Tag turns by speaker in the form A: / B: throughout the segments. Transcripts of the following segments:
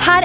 A: her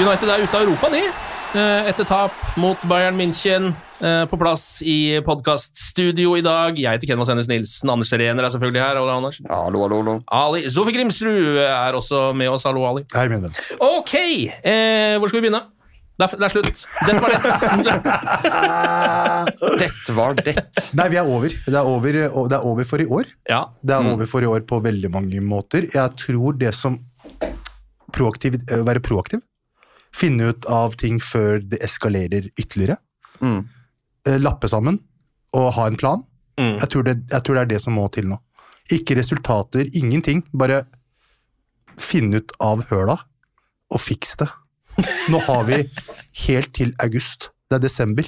B: United er ute av Europa, de. Eh, Etter tap mot Bayern München. eh, På plass i podkaststudio i dag. Jeg heter Kenvas Ennis Nilsen. Anders Serener er selvfølgelig her. Hallo, Anders.
C: Hallo, hallo, hallo.
B: Ali Sofie Grimsrud er også med oss. Hallo, Ali.
D: Hei, min venn.
B: Ok, eh, hvor skal vi begynne? Det er, det er slutt. Dette var det.
C: Dette var det.
D: Nei, vi er over. Det er over, og det er over for i år.
B: ja.
D: Det
C: Mm.
D: er over for i år på veldig mange måter. Jeg tror det som proaktiv, eh, Å være proaktiv. Finne ut av ting før det eskalerer ytterligere.
C: Mm.
D: Eh, Lappe sammen og ha en plan.
B: Mm.
D: Jeg, tror det, jeg tror det er det som må til nå. Ikke resultater, ingenting. Bare finne ut av høla og fiks det. Nå har vi helt til august. Det er desember.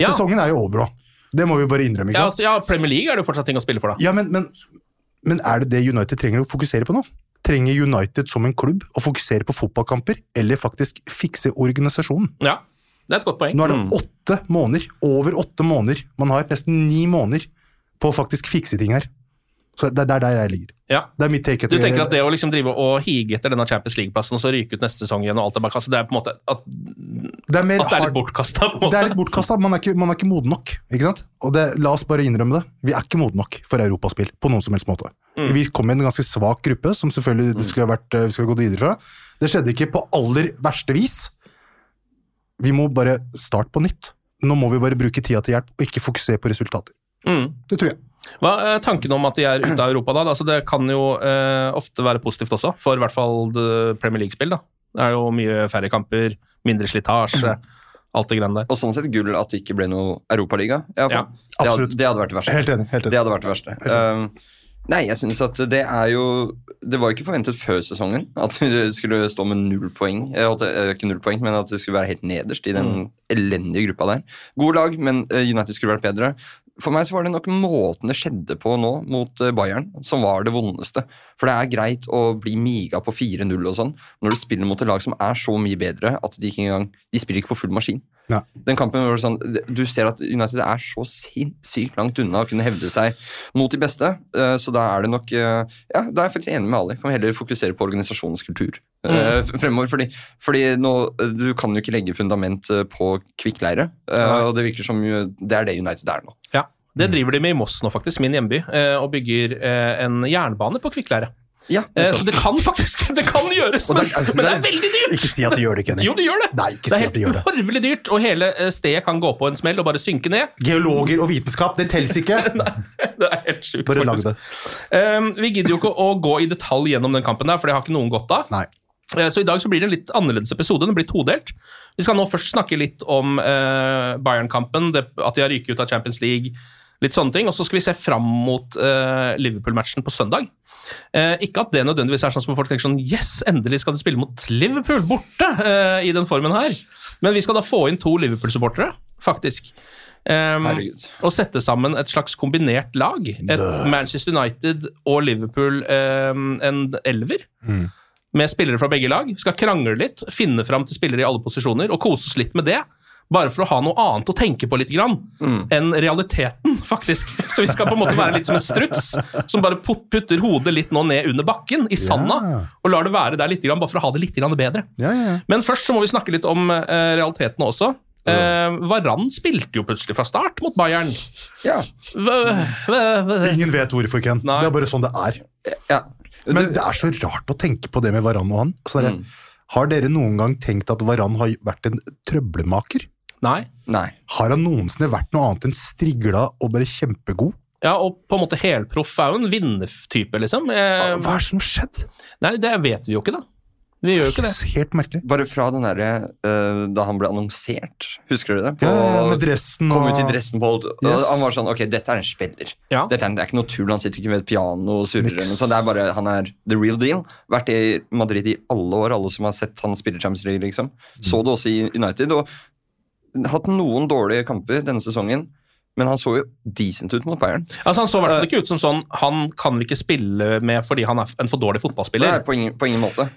B: Ja.
D: Sesongen er jo over nå. Det må vi bare innrømme. ikke
B: Ja,
D: sant?
B: altså, ja, Premier League er det jo fortsatt ting å spille for, da.
D: Ja, men, men, men er det det United trenger å fokusere på nå? Trenger United som en klubb å fokusere på fotballkamper, eller faktisk fikse organisasjonen?
B: Ja, Det er et godt poeng. Mm.
D: Nå er det åtte måneder, over åtte måneder. Man har nesten ni måneder på å faktisk fikse ting her. Så det er der, der jeg ligger.
B: Ja.
D: Det er mitt take.
B: Du tenker at det å liksom drive og hige etter denne Champions League-plassen og så ryke ut neste sesong igjen og alt er bare kastet, det er på en måte at,
D: det er, mer
B: at det er
D: hard-
B: litt bortkasta?
D: Det er litt bortkasta. Man, er ikke- man er ikke moden nok. ikke sant? Og det, La oss bare innrømme det. Vi er ikke moden nok for europaspill på noen som helst måte.
B: Mm.
D: Vi kom i en ganske svak gruppe, som selvfølgelig det skulle ha vært, eh, vi skulle ha gått videre fra. Det skjedde ikke på aller verste vis. Vi må bare starte på nytt. Nå må vi bare bruke tida til hjelp, og ikke fokusere på resultater.
B: Mm.
D: Det tror jeg.
B: Hva er tanken om at de er ute av Europa, da? Altså, det kan jo eh, ofte være positivt også, for i hvert fall det Premier League-spill. da. Det er jo mye færre kamper, mindre slitasje,
D: Mm.
B: alt det greiene der.
E: Og sånn sett gull at det ikke ble noe Europaliga. Ja, for
B: Ja,
E: det, hadde,
D: absolutt.
E: det hadde vært det verste.
D: Helt enig. helt
E: Det
D: enig.
E: hadde vært det verste. Um, nei, jeg synes at det er jo Det var jo ikke forventet før sesongen at vi skulle stå med null poeng. Eh, at det- eh, Ikke null poeng, men at det skulle være helt nederst i den elendige gruppa der. God lag, men eh, United skulle vært bedre. For meg så var det nok måten det skjedde på nå, mot eh, Bayern, som var det vondeste. For det er greit å bli miga på 4-0 og sånn, når du spiller mot et lag som er så mye bedre at de ikke engang De spiller ikke for full maskin.
D: Nei.
E: Den kampen var sånn, Du ser at United er så sinnssykt langt unna å kunne hevde seg mot de beste. eh, Så da er det nok eh, Ja, da er jeg faktisk enig med Ali. Kan vi heller fokusere på organisasjonens kultur eh, f- fremover. Fordi, fordi nå, eh, du kan jo ikke legge fundament eh, på kvikkleire. eh,
B: Nei.
E: Og det virker som jo- det er det United er nå.
B: Ja, Det
D: Mm.
B: driver de med i Moss nå, faktisk, min hjemby, eh, og bygger eh, en jernbane på kvikkleire.
E: Ja,
B: Eh, så det kan faktisk det kan gjøres,
D: Og
B: men,
D: det er-
B: men det er veldig dyrt!
D: Ikke si at de gjør det, Kenny.
B: Jo, det gjør det.
D: Nei, ikke
B: det
D: si
B: er
D: at de gjør det.
B: helt horvelig dyrt, og hele eh, stedet kan gå på en smell og bare synke ned.
D: Geologer og vitenskap, det teller ikke!
B: Det er helt sjukt.
D: Bare lag
B: faktisk.
D: det.
B: Ehm, vi gidder jo ikke å gå i detalj gjennom den kampen, der, for det har ikke noen godt av.
D: Nei.
B: Eh, Så i dag så blir det en litt annerledes episode. Den blir todelt. Vi skal nå først snakke litt om eh, Bayern-kampen, det- at de har ryket ut av Champions League, litt sånne ting. Og så skal vi se fram mot eh, Liverpool-matchen på søndag. Eh, ikke at det nødvendigvis er sånn som folk tenker sånn Yes, endelig skal de spille mot Liverpool borte eh, i den formen her. Men vi skal da få inn to Liverpool-supportere, faktisk. Ehm,
E: Herregud.
B: og sette sammen et slags kombinert lag. Et Manchester United og Liverpool, eh, en ehm, elver. med spillere fra begge lag. Skal krangle litt, finne fram til spillere i alle posisjoner og kose oss litt med det. Bare for å ha noe annet å tenke på litt grann, enn realiteten, faktisk. Så vi skal på en måte være litt som en struts som bare put- putter hodet litt nå ned under bakken, i sanda,
D: Ja.
B: og lar det være der litt, grann, bare for å ha det litt grann bedre.
D: Ja, ja, ja.
B: Men først så må vi snakke litt om eh, realitetene også. Uh, Varan spilte jo plutselig fra start mot Bayern.
E: Ja.
B: Hva- hva- hva-
D: Ingen vet hvorfor, Ken.
B: Nei.
D: Det er bare sånn det er.
E: ja.
D: Men det er så rart å tenke på det med Varan og han.
E: Mm.
D: Altså, dere, Har dere noen gang tenkt at Varan har vært en trøblemaker?
B: Nei.
E: Nei.
D: Har han noensinne vært noe annet enn strigla og bare kjempegod?
B: Ja, og på en måte helproff er jo en vinnertype, liksom.
E: Ah,
B: Eh,
D: Hva er det som har skjedd?
B: nei, det vet vi jo ikke, da. Vi gjør jo ikke det.
D: Helt merkelig.
E: Bare fra den derre eh, da han ble annonsert, husker dere det? På-
D: Ja, ja, med dressen
E: Kom ut i
D: og-
E: dressen på Old. og
D: Yes.
E: Han var sånn Ok, dette er en spiller.
B: Ja.
E: Dette er, det er ikke noe tull. Han sitter ikke ved et piano og sånn. surrer.
D: Niks.
E: eller noe sånt. Det er bare, Han er the real deal. Vært i Madrid i alle år, alle som har sett han spille Champions League. liksom. Så det også i United. og Hatt noen dårlige kamper denne sesongen, men han så jo decent ut mot Bayern.
B: Altså, Han så i
E: Eh.
B: hvert fall ikke ut som sånn Han kan vi ikke spille med fordi han er en for dårlig
E: Nei,
B: fotballspiller.
E: på ingen, på ingen måte.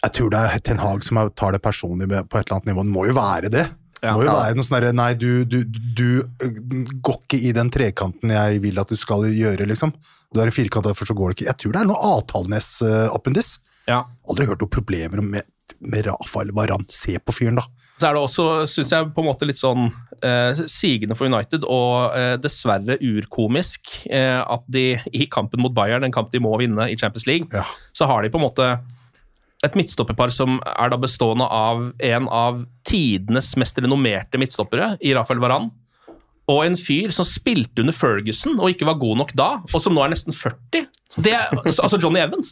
D: Jeg tror det er Ten Hag som er- tar det personlig med, på et eller annet nivå. Det må jo være det. Det
B: Ja.
D: må jo
E: Ja.
D: være noe sånn derre Nei, du, du, du øh, går ikke i den trekanten jeg vil at du skal gjøre, liksom. Du er i firkant, derfor så går det ikke. Jeg tror det er noe Avtalenes-appendis.
B: Ja.
D: Aldri hørt noen problemer med, med Rafael Varan. Se på fyren, da.
B: Så er det også, syns jeg, på en måte litt sånn eh, sigende for United, og eh, dessverre urkomisk, eh, at de i kampen mot Bayern, en kamp de må vinne i Champions League,
D: Ja.
B: så har de på en måte et midtstopperpar som er da bestående av en av tidenes mest renommerte midtstoppere i Rafael Varan, og en fyr som spilte under Ferguson og ikke var god nok da, og som nå er nesten 40. Det, er- altså Johnny Evans.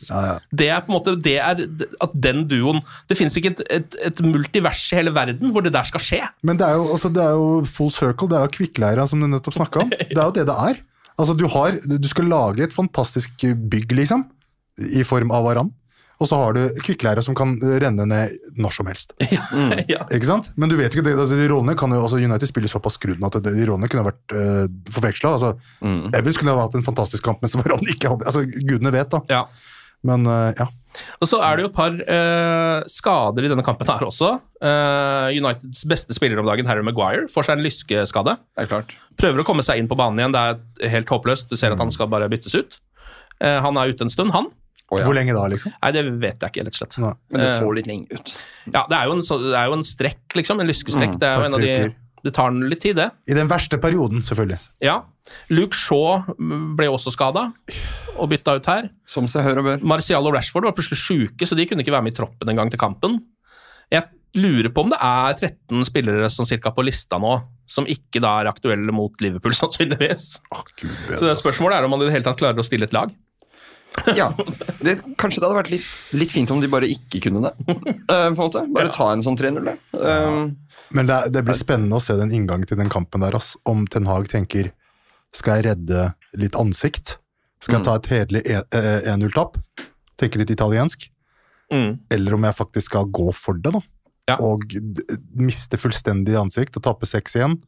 B: Det er på en måte det er at den duoen Det fins ikke et, et, et multivers i hele verden hvor det der skal skje.
D: Men det er jo, altså, det er jo full circle, det er jo kvikkleira som du nettopp snakka om. Det er jo det det er. Altså, du, har, du skal lage et fantastisk bygg, liksom, i form av varann. Og så har du kvikkleira som kan eh, renne ned når som helst.
E: Mm.
B: ja.
D: Ikke sant? Men du vet ikke det, altså, de rollene kan jo, altså United spiller såpass skrudd nå at de rollene kunne ha vært uh, forveksla. Altså,
B: Mm.
D: Evans kunne ha hatt en fantastisk kamp, mens Varan ikke hadde altså, Gudene vet, da.
B: ja.
D: Men eh, ja.
B: Og så er det jo et par eh, skader i denne kampen her også. Eh, Uniteds beste spiller om dagen, Harry Maguire, får seg en lyskeskade.
E: Det er klart.
B: Prøver å komme seg inn på banen igjen, det er helt håpløst. Du ser at han skal bare byttes ut. Eh, han er ute en stund, han.
E: Å, ja.
D: Hvor lenge da, liksom?
B: Nei, det vet jeg ikke, rett og slett.
D: Nei.
E: Men det så litt lenge ut.
B: Ja, det er jo en, så, det er jo en strekk, liksom. En lyskestrekk.
E: Mm.
B: det er jo en av de
D: uker.
B: Det tar litt tid, det.
D: I den verste perioden, selvfølgelig.
B: Ja. Luke Shaw ble også skada og bytta ut her.
E: Som seg hør og bør.
B: Martial og Rashford var plutselig sjuke, så de kunne ikke være med i troppen engang til kampen. Jeg lurer på om det er 13 spillere som cirka på lista nå, som ikke da er aktuelle mot Liverpool, sannsynligvis. Så det spørsmålet er om man i det hele tatt klarer å stille et lag.
E: Ja, det, Kanskje det hadde vært litt, litt fint om de bare ikke kunne det. Eh, på en måte. Bare ta en sånn 3-0. da. Eh,
D: Men det, det blir spennende å se den inngangen til den kampen der, ass. Om Ten Hag tenker Skal jeg redde litt ansikt? Skal
B: Mm.
D: jeg ta et hederlig e- eh, 1-0-tap? Tenke litt italiensk?
B: Mm.
D: Eller om jeg faktisk skal gå for det, da.
B: Ja.
D: Og d- miste fullstendig ansikt og tape 6-1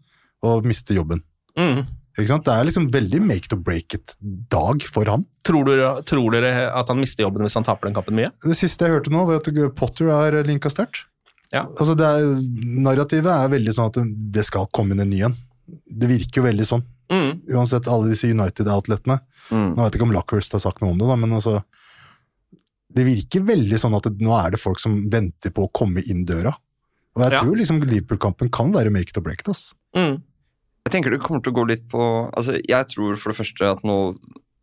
D: og miste jobben.
B: Mm.
D: Ikke sant? Det er liksom veldig make to break it-dag for han.
B: Tror, dere, tror dere at han mister jobben hvis han taper den kampen mye?
D: Det siste jeg hørte nå, var at Potter er linka sterkt.
B: Ja.
D: Altså det er, narrativet er veldig sånn at det skal komme inn en ny en. Det virker jo veldig sånn.
B: Mm.
D: Uansett, alle disse United-outletene. Nå vet jeg ikke om Lockhurst har sagt noe om det, da, men altså Det virker veldig sånn at det, nå er det folk som venter på å komme inn døra. Og jeg
B: Ja.
D: tror liksom Liverpool-kampen kan være make it or break it. ass.
B: Mm.
E: Jeg tenker det kommer til å gå litt på altså Jeg tror for det første at nå,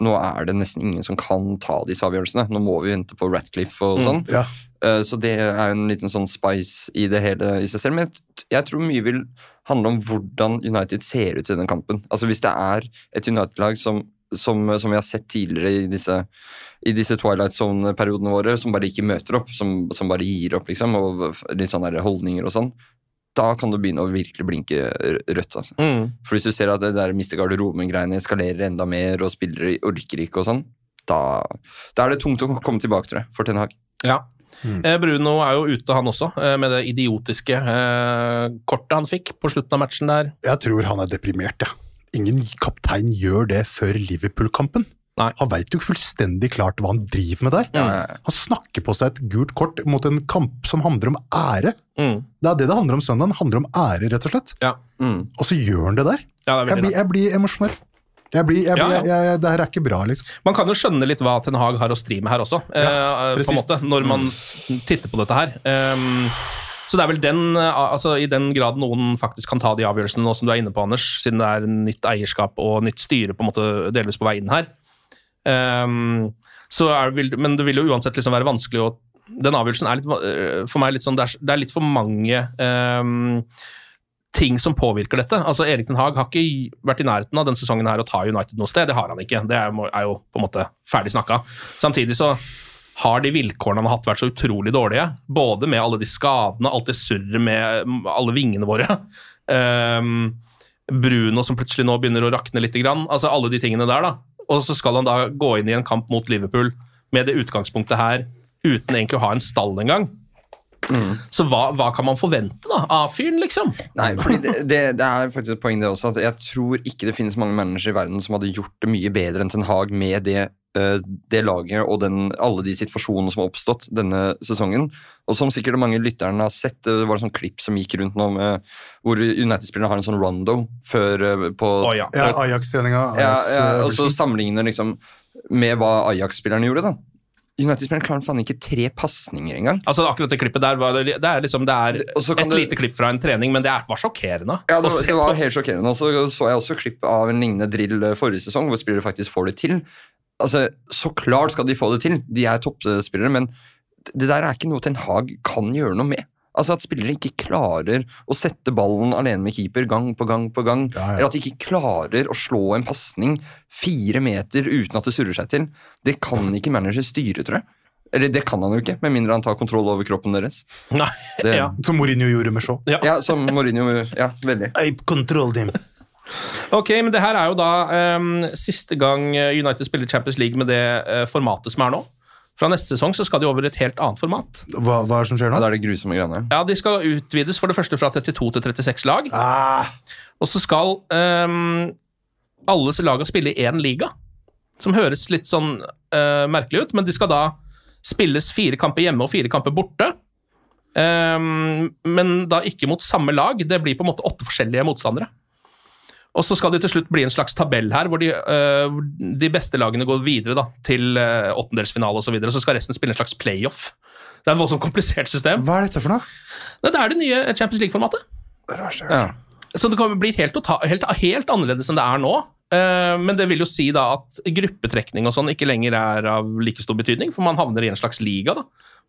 E: nå er det nesten ingen som kan ta disse avgjørelsene. Nå må vi vente på Ratcliffe og sånn.
D: Ja.
E: Eh, Så det er en liten sånn spice i det hele i seg selv. Men jeg t- jeg tror mye vil handle om hvordan United ser ut i den kampen. Altså Hvis det er et United-lag som som, som vi har sett tidligere i disse, i disse Twilight Zone-periodene våre, som bare ikke møter opp, som, som bare gir opp, liksom, og litt sånne der holdninger og sånn, da kan det begynne å virkelig blinke rø- rødt. altså.
B: Mm.
E: For hvis du ser at det der miste garderoben-greiene eskalerer enda mer, og spillere orker ikke og sånn, da, da er det tungt å komme tilbake, tror jeg, for Ten Hag.
B: Ja. Eh, Bruno er jo ute, han også, eh, med det idiotiske eh, kortet han fikk på slutten av matchen der.
D: Jeg tror han er deprimert, ja. Ingen kaptein gjør det før Liverpool-kampen.
B: Nei.
D: Han veit jo ikke fullstendig klart hva han driver med der.
E: Ja, ja, ja.
D: Han snakker på seg et gult kort mot en kamp som handler om ære.
B: Mm.
D: Det er det det handler om søndagen. Det handler om ære, rett og slett.
B: Ja.
E: Mm.
D: Og så gjør han det der.
B: Ja, det er
D: Jeg
B: veldig
D: blir, jeg blir emosjonell. Jeg blir, jeg blir,
B: Ja, ja.
D: Jeg, jeg, det her er ikke bra, liksom.
B: Man kan jo skjønne litt hva Ten Hag har å stri med her også, eh, på en
D: precis.
B: måte, når man s- titter på dette her. Ehm, så det er vel den, eh, altså I den grad noen faktisk kan ta de avgjørelsene, nå som du er inne på, Anders, siden det er nytt eierskap og nytt styre på en måte delvis på vei inn her. Ehm, så er, vil, men det vil jo uansett liksom være vanskelig å Den avgjørelsen er litt, va- eh, for meg litt sånn Det er, det er litt for mange ehm, ting som påvirker dette. Altså, Erik Den Haag har ikke vært i nærheten av denne sesongen her å ta United noe sted. Det har han ikke. Det er jo- er jo på en måte ferdig snakka. Samtidig så har de vilkårene han har hatt, vært så utrolig dårlige. Både med alle de skadene, alt det surret med mm, alle vingene våre. Ehm, Bruno som plutselig nå begynner å rakne litt. Grann. Altså, alle de tingene der, da. Og så skal han da gå inn i en kamp mot Liverpool med det utgangspunktet her, uten egentlig å ha en stall engang. Så hva, hva kan man forvente da, av fyren, liksom?
E: Nei, fordi det, det, det er faktisk et poeng det også, at jeg tror ikke det finnes mange mennesker i verden som hadde gjort det mye bedre enn Ten Hag med det, eh, det laget og den, alle de situasjonene som har oppstått denne sesongen. Og som sikkert mange lytterne har sett, det var et sånt klipp som gikk rundt nå, med, hvor United-spillerne har en sånn rondo før eh, på
B: Å ja.
D: Ja, Ajax-treninga.
E: ja,
D: Ajax, eh,
E: ja, og så
D: øvelsen.
E: sammenligner liksom med hva Ajax-spillerne gjorde, da. United-spillerne klarer faen ikke tre pasninger engang.
B: Altså Akkurat det klippet der var, det er, liksom, det er
E: Og så
B: et
E: kan det-
B: lite klipp fra en trening, men det er, var sjokkerende.
E: Ja,
B: å
E: det,
B: se
E: det var
B: på.
E: helt sjokkerende. Og så så jeg også klipp av en lignende drill eh, forrige sesong, hvor spillere faktisk får det til. Altså, Så klart skal de få det til, de er toppspillere, men det der er ikke noe Ten Hag kan gjøre noe med. Altså At spillere ikke klarer å sette ballen alene med keeper gang på gang på gang.
D: Ja, ja.
E: Eller at de ikke klarer å slå en pasning fire meter uten at det surrer seg til. Det kan ikke manager styre, tror jeg. Eller det kan han jo ikke, med mindre han tar kontroll over kroppen deres.
B: Nei,
E: Det-
B: ja.
D: Som Mourinho gjorde med Shaw.
B: Ja.
E: Ja, som Mourinho Ja, veldig.
D: I controlled him.
B: Ok, men det her er jo da ehm, siste gang United spiller Champions League med det eh, formatet som er nå. Fra neste sesong så skal de over i et helt annet format.
D: Hva, hva er det som skjer
E: Ja,
D: nå?
E: Da er det grusomme greiene.
B: Ja, De skal utvides for det første fra 32 til 36 lag.
D: Ah,
B: Og så skal ehm, alle lagene spille i én liga, som høres litt sånn eh, merkelig ut, men de skal da spilles fire kamper hjemme og fire kamper borte. Ehm, men da ikke mot samme lag. Det blir på en måte åtte forskjellige motstandere. Og så skal det til slutt bli en slags tabell her, hvor de, eh, hvor de beste lagene går videre da, til uh, åttendelsfinale osv. Så, videre, og så skal resten spille en slags playoff. Det er et voldsomt komplisert system.
D: hva er dette for noe?
B: Nei, det er det nye Champions League-formatet.
E: Ja.
B: Så det kommer- blir helt, tota- helt, helt annerledes enn det er nå. Eh, Men det vil jo si da at gruppetrekning og sånn ikke lenger er av like stor betydning, for man havner i en slags liga da,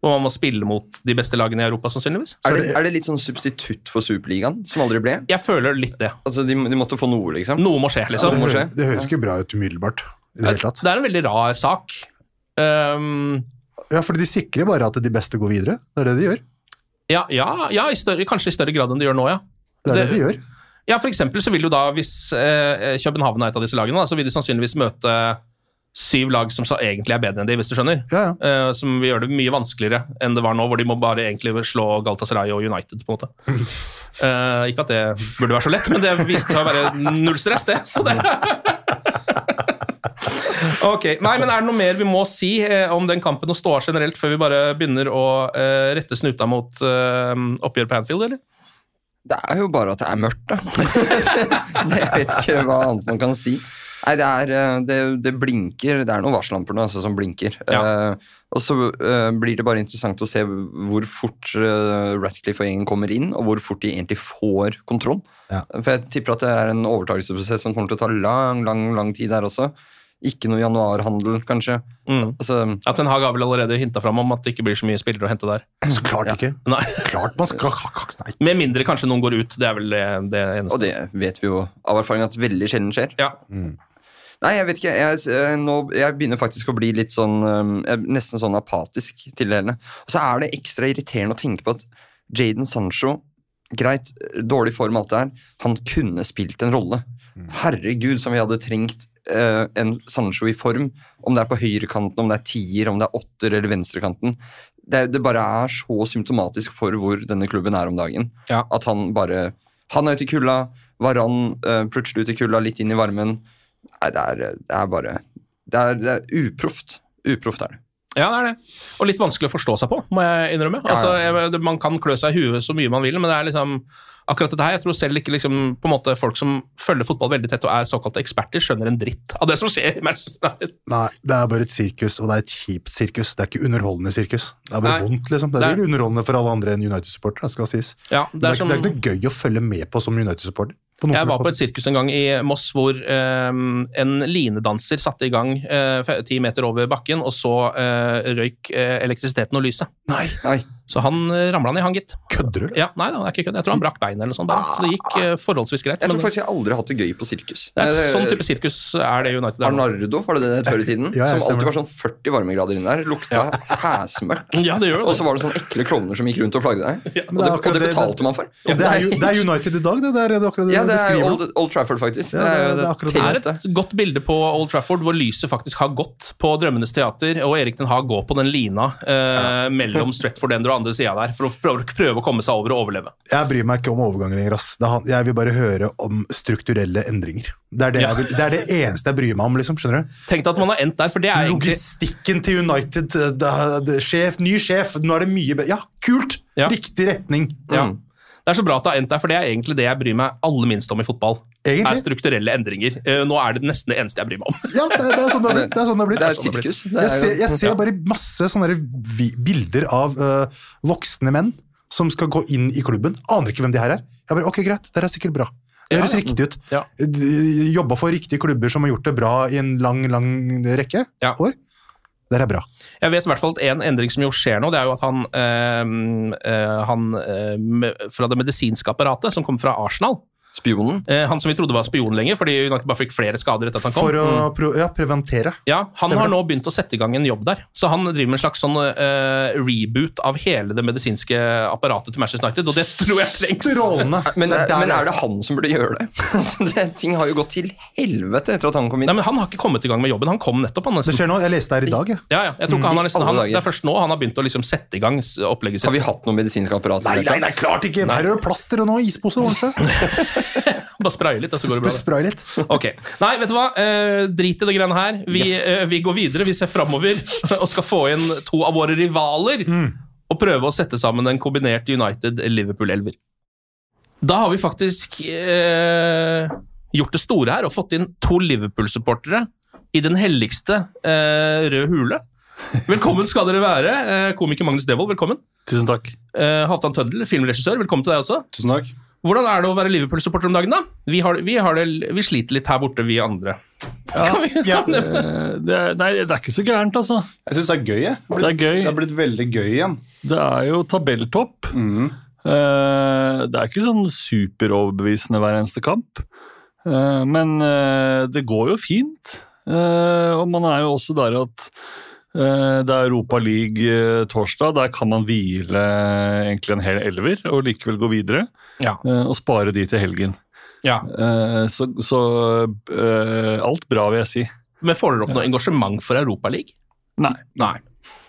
B: hvor man må spille mot de beste lagene i Europa, sannsynligvis.
E: Er det, er det litt sånn substitutt for Superligaen, som aldri ble?
B: Jeg føler litt det.
E: Altså, De, de måtte få noe, liksom.
B: Noe må skje,
E: Ja,
B: liksom.
E: må skje.
D: Det, det høres ikke bra ut umiddelbart. i det hele tatt.
B: Det er en veldig rar sak. Ehm,
D: Ja, fordi De sikrer bare at de beste går videre. Det er det de gjør.
B: ja, ja, ja i større, kanskje i større grad enn de gjør nå, ja.
D: Det er det,
B: Det-
D: de gjør.
B: Ja, for eksempel så vil jo da, hvis eh, København er et av disse lagene, da, så vil de sannsynligvis møte syv lag som så egentlig er bedre enn de, hvis du skjønner.
D: Ja, ja.
B: Eh, som vil gjøre det mye vanskeligere enn det var nå, hvor de må bare egentlig slå Galatasaray og United, på en måte. Eh, ikke at det burde være så lett, men det viste seg å være null stress, det. Så det. Ok, nei, men Er det noe mer vi må si eh, om den kampen og ståa generelt, før vi bare begynner å eh, rette snuta mot eh, oppgjør på Anfield, eller?
E: Det er jo bare at det er mørkt, da. jeg vet ikke hva annet man kan si. Nei, det er eh, Det, det blinker. Det er noen varsellamper nå altså, som blinker.
B: Ja.
E: Eh, og så eh, blir det bare interessant å se hvor fort eh, Ratcliffe og gjengen kommer inn, og hvor fort de egentlig får kontroll.
D: Ja.
E: For jeg tipper at det er en overtakelsesprosess som kommer til å ta lang, lang, lang tid der også. Ikke noe januarhandel, kanskje.
B: Mm.
E: Altså,
B: At Den Haag har vel allerede hinta fram om at det ikke blir så mye spillere å hente der.
D: Så klart ikke.
B: Nei.
D: Klart man skal ha- ha- Nei.
B: Med mindre kanskje noen går ut. Det er vel det, det eneste.
E: Og det vet vi jo av erfaring at veldig sjelden skjer.
B: Ja.
E: Nei, jeg vet ikke. Jeg, eh, nå, jeg begynner faktisk å bli litt sånn eh, jeg er Nesten sånn apatisk til det hele. Og så er det ekstra irriterende å tenke på at Jaden Sancho Greit, dårlig form, alt det her. Han kunne spilt en rolle. Herregud, som vi hadde trengt eh, en Sancho i form. Om det er på høyrekanten, om det er tier, om det er åtter eller venstrekanten. Det, er- det bare er så symptomatisk for hvor denne klubben er om dagen.
B: Ja.
E: At han bare Han er ute i kulda, Varan eh, plutselig ute i kulda, litt inn i varmen. Nei, det er, det er bare Det er, det er uproft. Uproft er det.
B: Ja, det er det. Og litt vanskelig å forstå seg på, må jeg innrømme. Altså, jeg, det- man kan klø seg i huet så mye man vil, men det er liksom akkurat dette her, jeg tror selv ikke liksom, på en måte folk som følger fotball veldig tett og er såkalte eksperter, skjønner en dritt av det som skjer i Manchester United.
D: Nei, det er bare et sirkus, og det er et kjipt sirkus. Det er ikke underholdende sirkus. Det er bare
B: Nei.
D: vondt, liksom. Det er
B: Det er-
D: sikkert underholdende for alle andre enn United-supportere, skal sies.
B: Ja,
D: Det er, ikke- det er ikke noe gøy å følge med på som United-supporter. på noen
B: Jeg
D: som helst
B: var på
D: måte.
B: et sirkus en gang i Moss hvor eh, en linedanser satte i gang eh, ti meter over bakken, og så eh, røyk eh, elektrisiteten og lyset.
E: Nei,
B: Så han eh, ramla ned, han gitt.
D: Kødder du?
B: Ja, nei da, det er ikke kødd. Jeg tror han brakk beinet eller noe sånt. da. Så det gikk eh, forholdsvis greit.
E: jeg
B: Men
E: tror faktisk jeg aldri har hatt det gøy på sirkus.
B: det er et
E: Eh,
B: sånn type sirkus er det United er nå.
E: Arnardo var det det før i tiden?
D: Ja, ja,
E: som alltid
D: stemmer.
E: var sånn 40 varmegrader inne der. Lukta hæsmøkk.
B: Ja, det gjør jo
E: Og så
B: det.
E: var det sånne ekle klovner som gikk rundt og plagde deg. og, det, og
D: men det er
E: det
D: akkurat det-
E: betalte man for.
D: Og det er, jo- det er United i dag, det. Det er det er akkurat det
E: Ja,
D: du
E: det er
D: beskriver.
E: Old, Old Trafford, faktisk.
D: Ja,
E: det, er, jo
D: det er akkurat det.
B: Det er
E: det,
B: et godt bilde på Old Trafford hvor lyset faktisk har gått på Drømmenes teater, og Erik Den Haag går på den lina eh, mellom Stretford End og andre sida der for å prøve, prøve å komme seg over og overleve.
D: Jeg bryr meg ikke om overganger lenger. ass. Det er han- Jeg vil bare høre om strukturelle endringer. Det er det, jeg vil, det, er det eneste jeg bryr meg om. liksom, skjønner du?
B: Tenk deg at man har endt der, for det er egentlig
D: Logistikken til United. Det, er- det, er sjef, ny sjef, nå er det mye bedre. Ja, kult!
B: Ja.
D: Riktig retning. Mm.
B: ja. Det er så bra at det har endt der, for det er egentlig det jeg bryr meg aller minst om i fotball.
D: Egentlig.
B: Er strukturelle endringer. Eh, nå er det nesten det eneste jeg bryr meg om.
D: Ja, det, det er sånn det har blitt. Det er, sånn det har blitt.
E: det er et sirkus. Det
D: Jeg
E: er
D: ser,
E: jo,
D: jeg ser bare masse sånne der vi, bilder av eh, voksne menn som skal gå inn i klubben. Aner ikke hvem de her er. Jeg bare, ok, greit, dere er sikkert bra. Det
B: Ja,
D: høres
B: ja.
D: riktig ut.
B: Ja.
D: De Jobba for riktige klubber som har gjort det bra i en lang, lang rekke
B: Ja.
D: år. Dere er bra.
B: Jeg vet i hvert fall at en endring som jo skjer nå, det er jo at han, eh, eh, han eh, me- fra det medisinske apparatet, som kom fra Arsenal
E: spionen.
B: eh, Han som vi trodde var spion lenger, fordi United bare fikk flere skader etter at han kom. Mm.
D: For å pro ja, preventere.
B: Ja, Han
D: Stemmer
B: har
D: det.
B: nå begynt å sette i gang en jobb der. Så han driver med en slags sånn eh, reboot av hele det medisinske apparatet til Manchester United, og det tror jeg trengs.
D: Strålende.
E: Men,
D: Ah, Så
E: er-
D: der-
E: men er det han som burde gjøre det? Altså, det? Ting har jo gått til helvete etter at han kom inn.
B: Nei, men Han har ikke kommet i gang med jobben. Han kom nettopp. Han
D: det
B: nesten.
D: skjer nå. Jeg leste det her i dag. jeg.
B: Ja, ja, jeg tror ikke han har nesten,
E: alle
B: han,
E: dager.
B: Det er først nå han har begynt å liksom sette i gang s- opplegget sitt.
E: Har vi hatt noe medisinsk apparat?
D: Nei, nei, nei, klart ikke! Her er det plaster og noe ispose. ordentlig.
B: Bare spraye litt, og så går det bra.
D: Sp- Spray litt.
B: Ok. Nei, vet du hva? Eh, drit i det greiene her. Vi,
E: Yes.
B: eh, vi går videre. Vi ser framover og skal få inn to av våre rivaler
F: Mm.
B: og prøve å sette sammen en kombinert United-Liverpool-elver. Da har vi faktisk eh, gjort det store her og fått inn to Liverpool-supportere i den helligste eh, røde hule. Velkommen skal dere være. Eh, komiker Magnus Devold, velkommen.
F: Tusen takk.
B: Eh, Halvdan Tøddel, filmregissør, velkommen til deg også.
F: Tusen takk.
B: Hvordan er det å være Liverpool-supporter om dagen, da? Vi, har, vi, har det, vi sliter litt her borte, vi andre. Kan vi,
D: ja.
B: kan det-
F: Det er, nei, det er ikke så gærent, altså.
G: Jeg syns det er gøy. Jeg.
F: Det er gøy.
G: Det har blitt veldig gøy igjen.
F: Det er jo tabelltopp. Eh, Det er ikke sånn superoverbevisende hver eneste kamp. Eh, Men eh, det går jo fint. Eh, Og man er jo også der at eh, det er Europa League eh, torsdag. Der kan man hvile egentlig en hel elver og likevel gå videre.
B: Ja.
F: Eh, Og spare de til helgen.
B: Ja.
F: Eh, Så, så eh, alt bra, vil jeg si.
B: Men får dere opp noe engasjement for Europaligaen?
F: Nei.
B: Nei.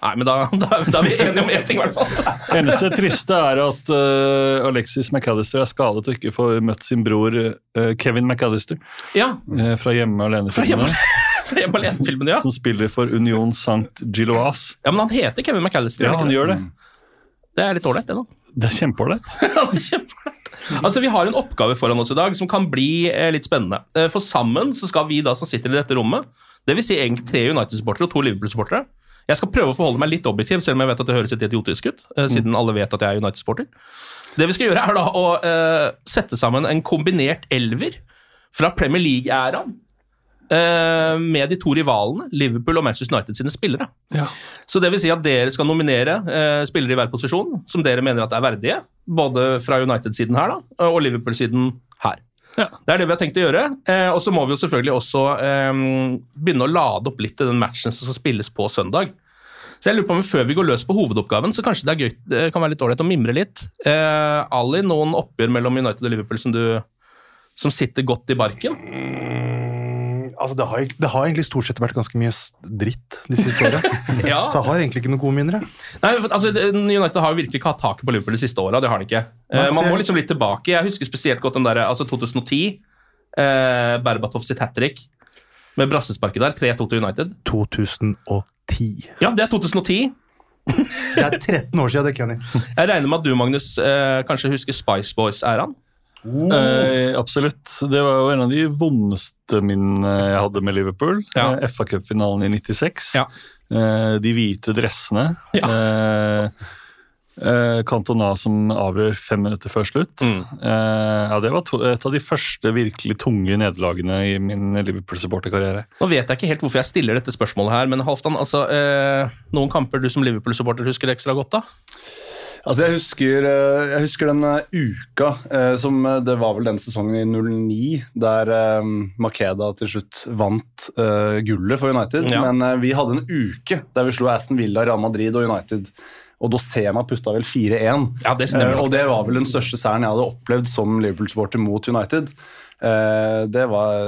B: Nei, men da, da, da er vi enige om én ting, i hvert fall.
F: Eneste triste er at eh, Alexis McAllister er skadet og ikke får møtt sin bror eh, Kevin McAllister
B: Ja,
F: eh, fra Hjemme
B: fra hjemme,
F: alene-filmene,
B: fra hjemme alene-filmen, ja.
F: som spiller for Union St. Gilloise.
B: ja. Men han heter Kevin McAllister.
F: Ja, han gjør det.
B: Det er litt ålreit, det, da.
F: Det er kjempeålreit.
B: Ja, det er kjempeålreit. Altså, Vi har en oppgave foran oss i dag som kan bli eh, litt spennende. Eh, For sammen så skal vi da som sitter i dette rommet, dvs. Si egentlig tre United-supportere og to Liverpool-supportere Jeg skal prøve å forholde meg litt objektiv, selv om jeg vet at det høres litt idiotisk ut, eh, siden alle vet at jeg er United-supporter. Det vi skal gjøre, er da å eh, sette sammen en kombinert elver fra Premier League-æraen. eh, Med de to rivalene, Liverpool og Manchester United sine spillere. Så det vil si at dere skal nominere eh, spillere i hver posisjon som dere mener at er verdige. Både fra United-siden her da, og Liverpool-siden her.
F: Ja.
B: Det er det vi har tenkt å gjøre. Eh, og så må vi jo selvfølgelig også eh, begynne å lade opp litt til den matchen som skal spilles på søndag. Så jeg lurer på om Før vi går løs på hovedoppgaven, så kanskje det, er gøy, det kan være litt ålreit å mimre litt. Eh, Ali, noen oppgjør mellom United og Liverpool som, du, som sitter godt i barken?
D: Altså, det, har, det har egentlig stort sett vært ganske mye s- dritt de siste åra.
B: Ja.
D: Så jeg har egentlig ikke noen gode minner. jeg.
B: Nei, for, altså, det- United har jo virkelig ikke hatt taket på Liverpool de siste åra. Det har de ikke. Eh,
D: Nei, altså,
B: man må
D: jeg-
B: liksom litt tilbake. Jeg husker spesielt godt den der, altså 2010. Eh, Berbatov sitt hat trick. med brassesparket der. 3-2 til United.
D: 2010.
B: Ja, det er 2010.
D: Det er 13 år siden det, Kenny.
B: Jeg regner med at du, Magnus, eh, kanskje husker Spice Boys-æraen?
D: Oh.
F: Eh, absolutt. Det var jo en av de vondeste minnene jeg hadde med Liverpool.
B: Ja.
F: Eh, FA Cup-finalen i 96.
B: Ja.
F: Eh, de hvite dressene. Eh, eh, Cantona som avgjør fem minutter før slutt.
B: mm.
F: Eh, ja, det var to et av de første virkelig tunge nederlagene i min Liverpool-supporterkarriere.
B: Nå vet jeg ikke helt hvorfor jeg stiller dette spørsmålet her, men Halvdan, altså, eh, noen kamper du som Liverpool-supporter husker ekstra godt, da?
G: Altså, jeg husker, eh, jeg husker den eh, uka eh, som eh, Det var vel den sesongen i 09 der eh, Makeda til slutt vant eh, gullet for United.
B: Ja.
G: Men eh, vi hadde en uke der vi slo Aston Villa, Real Madrid og United. Og Dosema putta vel 4-1.
B: Ja, det stemmer
G: Eh,
B: nok.
G: og det var vel den største seieren jeg hadde opplevd som Liverpool-supporter mot United. Eh, det, var,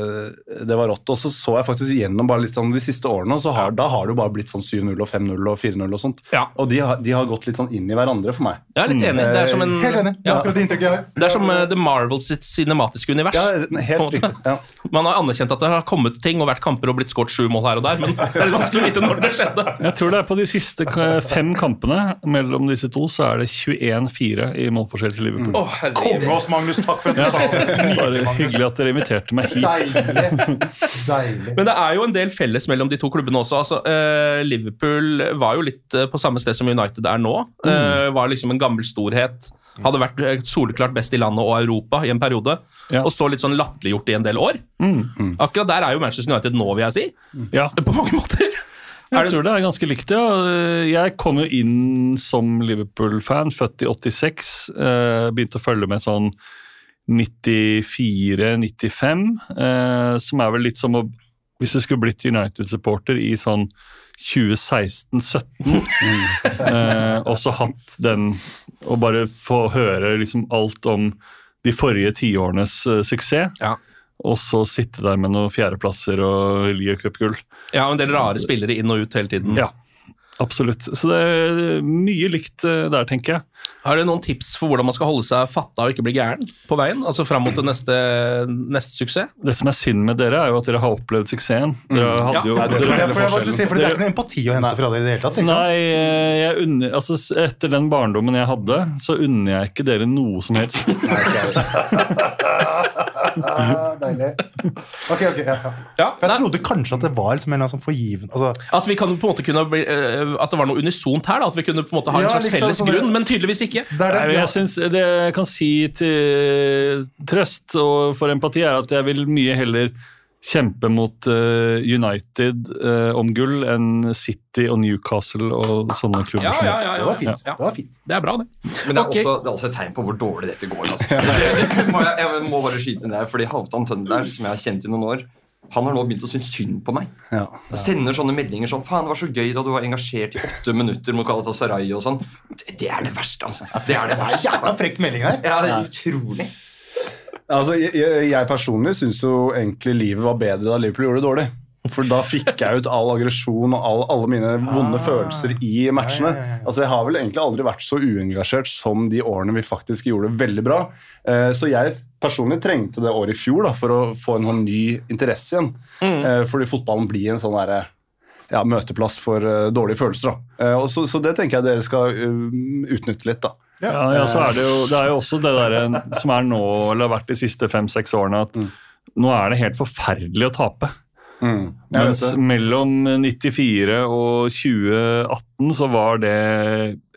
G: det var rått. Og så så jeg faktisk gjennom bare litt sånn de siste årene, og så har, da har det jo bare blitt sånn 7-0 og 5-0 og 4-0 og sånt.
B: Ja.
G: Og de har, de har gått litt sånn inn i hverandre for meg.
B: Jeg er litt enig. Det er som en
D: Helt enig. Det er
B: Ja.
D: akkurat det inntrykket jeg har.
B: Det er som eh, The Marvels sitt cinematiske
G: Mm.
B: univers.
G: Ja,
B: på en
G: helt
B: måte.
G: riktig. Ja.
B: Man har anerkjent at det har kommet ting og vært kamper og blitt skåret sju mål her og der, men det er litt vanskelig å vite når det skjedde.
F: Jeg tror det er på de siste ka- fem kampene mellom disse to, så er det 21-4 i målforskjell til Liverpool.
B: Å, herregud.
H: oss, Magnus. Takk for at du sa
F: Bare
H: det.
F: hyggelig at dere inviterte meg hit.
D: Deilig. Deilig.
B: Men det er jo en del felles mellom de to klubbene også. Altså, eh, Liverpool var jo litt eh, på samme sted som United er nå.
F: Mm.
B: Eh, var liksom en gammel storhet. Hadde vært eh, soleklart best i landet og Europa i en periode.
F: Ja. Mm.
B: Og så litt sånn latterliggjort i en del år. Akkurat der er jo Manchester United nå, vil jeg si.
F: Ja,
B: På mange måter.
F: jeg
B: Er det-
F: tror det er ganske likt, ja. Jeg kom jo inn som Liverpool-fan, født i 86. eh, Begynte å følge med sånn 94-95, eh, som er vel litt som å Hvis du skulle blitt United-supporter i sånn 2016-17, eh, og så hatt den Og bare få høre liksom alt om de forrige tiårenes eh, suksess.
B: Ja.
F: Og så sitte der med noen fjerdeplasser og Lier Cup-gull. Eh,
B: Ja, og en del rare spillere inn og ut hele tiden.
F: Ja, absolutt. Så det er mye likt eh, der, tenker jeg.
B: Har du noen tips for hvordan man skal holde seg fatta og ikke bli gæren på veien? Altså fram mot det neste, neste suksess? Mm.
F: Det som er synd med dere, er jo at dere har opplevd suksessen. Dere hadde jo...
B: Ja,
D: Det er, for jeg skulle si, for det er
F: Dere-
D: ikke noe empati å hente fra dere i det hele tatt. ikke sant?
F: Nei, eh, jeg unner, altså, s- etter den barndommen jeg hadde, så unner jeg ikke dere noe som helst.
D: Ah, Deilig. Ok, ok. Ja, ja.
B: Ja,
D: For
B: nei.
D: jeg trodde kanskje at det var liksom en eller annen sånn forgiven altså,
B: At, vi kan på en måte kunne bli, eh, at det var noe unisont her, da, at vi kunne på en måte ha en
D: Ja,
B: slags
D: liksom
B: felles
D: sånn-
B: grunn, men tydeligvis ikke.
D: det er det,
F: Nei, men
D: ja.
F: jeg synes Det jeg kan si til trøst og for empati, er at jeg vil mye heller kjempe mot eh, United eh, om gull enn City og Newcastle og sånne klubber.
B: Ja,
F: som-
B: ja, ja,
D: Det var
B: ja.
D: fint. Det var fint.
B: Det er bra, det.
E: Men det er,
B: Ok.
E: også, det er også et tegn på hvor dårlig dette går. Altså. Det må jeg, jeg må bare skyte inn der, fordi Halvdan Tønberg, som jeg har kjent i noen år, han har nå begynt å synes synd på meg.
G: Ja.
E: Han sender sånne meldinger sånn 'Faen, det var så gøy da du var engasjert i åtte minutter mot Galatasaray' og sånn. Det, det er det verste, altså. Det er det verste.
D: Jævla frekk melding her.
E: Ja, det er utrolig.
G: Altså, jeg, jeg jeg personlig syns jo egentlig livet var bedre da Liverpool gjorde det dårlig. For da fikk jeg ut all aggresjon og all, alle mine vonde følelser i matchene. Altså, Jeg har vel egentlig aldri vært så uengasjert som de årene vi faktisk gjorde det veldig bra. Eh, Så jeg personlig trengte det året i fjor da, for å få en sånn ny interesse igjen. Eh, Fordi fotballen blir en sånn derre ja, møteplass for eh, dårlige følelser. da. Eh, Og så, så det tenker jeg dere skal eh, utnytte litt, da.
F: Ja, ja, så er det, jo, det er jo også det der eh, som er nå, eller har vært de siste fem-seks årene,
D: Mm.
F: at nå er det helt forferdelig å tape.
G: Mm. Jeg
F: Mens
G: vet det.
F: mellom 94 og 2018 så var det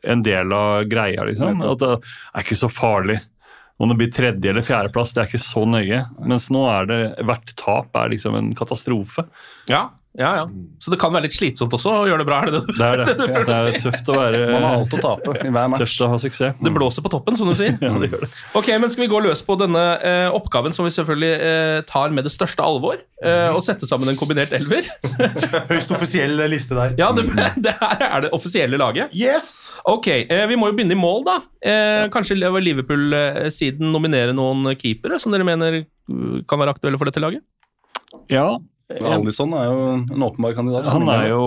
F: en del av greia, liksom. At det er ikke så farlig. Om det blir tredje- eller fjerdeplass, det er ikke så nøye. Mens nå er det hvert tap er liksom en katastrofe.
B: Ja, ja, ja. Så det kan være litt slitsomt også å gjøre det bra. Er det det?
F: Det er, det. Det er tøft å
G: Man har
F: være
G: alt å tape i hver match.
F: tøft å ha suksess.
B: Det blåser på toppen, som du sier.
F: Ja, det gjør det.
B: Ok, men Skal vi gå løs på denne eh, oppgaven, som vi selvfølgelig eh, tar med det største alvor?
F: Mhm.
B: Eh, og sette sammen en kombinert elver?
D: Høyst offisiell liste der.
B: Ja, det,
F: Mm.
B: det her er det offisielle laget.
D: Yes!
B: Ok, eh, Vi må jo begynne i mål, da. Eh, Kanskje Liverpool-siden nominerer noen keepere som dere mener uh, kan være aktuelle for dette laget?
F: Ja,
G: Alison er jo en åpenbar kandidat.
F: Han er jo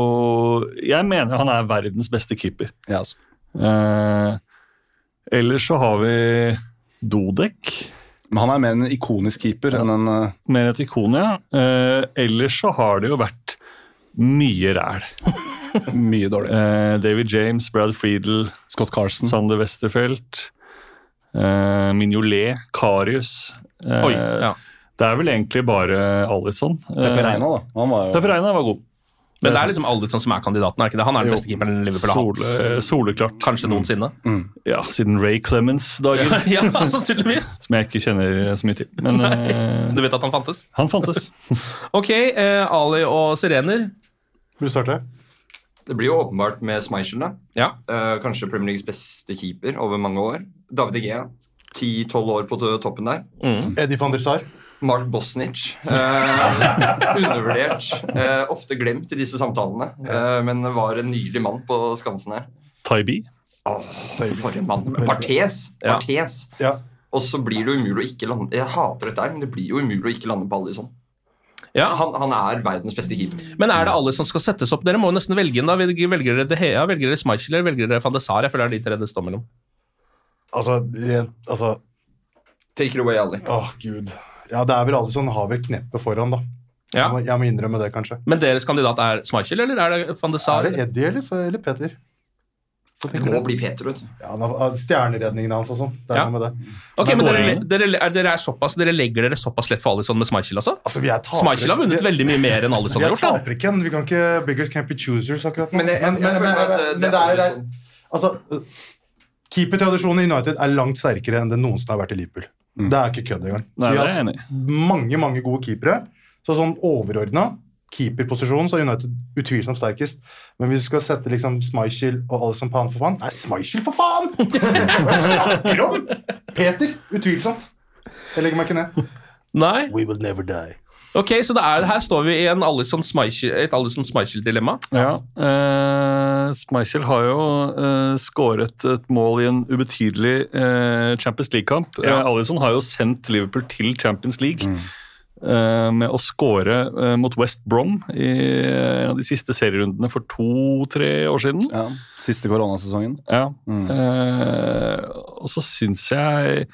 F: Jeg mener han er verdens beste keeper.
G: ja, altså.
F: Eh, ellers så har vi Dodek.
G: Men han er mer en ikonisk keeper enn en eh,
F: Mer et ikon, ja. Eh, ellers så har det jo vært mye ræl.
G: mye dårlig.
F: Eh, David James, Brad Friedel,
G: Scott Carson.
F: Sander Westerfeldt, eh, Mignolet, Karius. Eh,
B: Oi, ja.
F: Det er vel egentlig bare Eh, Alison.
G: Pepe Reina, da. Han var jo
F: Pepe Reina var god.
B: Men det er liksom Alderson som er kandidaten, er det ikke det? Han er den
G: Jo.
B: beste keeperen Liverpool har hatt.
F: Sole, soleklart. Mm.
B: Kanskje noensinne.
F: Ja, siden Ray Clemens-dagen,
B: ja, sannsynligvis.
F: som jeg ikke kjenner så mye til. Men eh,
B: Du vet at han fantes?
F: han fantes.
B: Ok, eh, Ali og Sirener.
D: Vil du starte?
E: Det blir jo åpenbart med Schmeichel, da.
B: Ja.
E: Eh, kanskje Premier Leagues beste keeper over mange år. David Egea. 10-12 år på to- toppen der.
D: Eddie van der Sar.
E: Mark Bosnich. eh, undervurdert. eh, ofte glemt i disse samtalene, eh, men var en nydelig mann på Skansen her.
F: Taibi.
E: For en mann. Partes.
B: Ja.
E: Partes.
D: Ja.
E: Og så blir det jo umulig å ikke lande Jeg hater dette her, men det blir jo umulig å ikke lande på Alisson.
B: ja.
E: Han, han er verdens beste keeper.
B: Men er det alle som skal settes opp? Dere må jo nesten velge en, da. Velger velger dere De Hea, velger dere Schmeichel eller velger dere van de Sar? Jeg føler det er de tre det står mellom.
D: Altså, rent, altså
E: Take it away, Ali.
D: Åh, gud. Ja, det er vel alle som har vel kneppet foran, da.
B: Ja.
D: Jeg, må, jeg må innrømme det, kanskje.
B: Men deres kandidat er Schmeichel, eller er det van de Sar?
D: Er det Eddie eller, eller Peter? Hva
E: Det
D: tenker
E: må
D: du?
E: bli Peter, vet du.
D: Ja, han har- Stjerneredningen hans og sånn. Det er
B: Ja.
D: noe med det.
B: Ok, men dere,
F: Skåringen.
B: dere, er, dere, er såpass, dere legger dere såpass lett for Alisson med Schmeichel, altså?
D: Altså, vi er tapere.
B: Schmeichel har vunnet
D: Vi-
B: veldig mye mer enn Alisson
D: Vi
B: har
D: er
B: gjort. da.
D: tapere, Ken. Vi kan ikke Beggars can't be choosers akkurat nå.
E: Men jeg- jeg- jeg føler at, eh, det
D: men det er,
E: er
D: det er Altså, øh, keepertradisjonen i United er langt sterkere enn den noensinne har vært i Liverpool. Det er ikke kødd engang.
F: Nei,
D: Vi
F: det
D: har
F: er jeg enig i.
D: mange, mange gode keepere. Så sånn overordna keeperposisjon så er United utvilsomt sterkest. Men hvis vi skal sette liksom Schmeichel og Alison Pan for faen Nei, Schmeichel, for faen! Hva snakker du om? Peter, utvilsomt. Jeg legger meg ikke ned.
B: Nei.
D: We will never die.
B: Ok, så det er, her står vi i en Alisson Schmeichel, et Alisson Schmeichel-dilemma.
F: Ja. eh, Schmeichel har jo eh, skåret et mål i en ubetydelig eh, Champions League-kamp.
B: Ja.
F: Eh, Alisson har jo sendt Liverpool til Champions League
D: Mm.
F: eh, med å skåre eh, mot West Brom i eh, en av de siste serierundene for to-tre år siden.
G: Ja. Siste koronasesongen.
F: Ja.
G: Mm.
F: Eh, og så syns jeg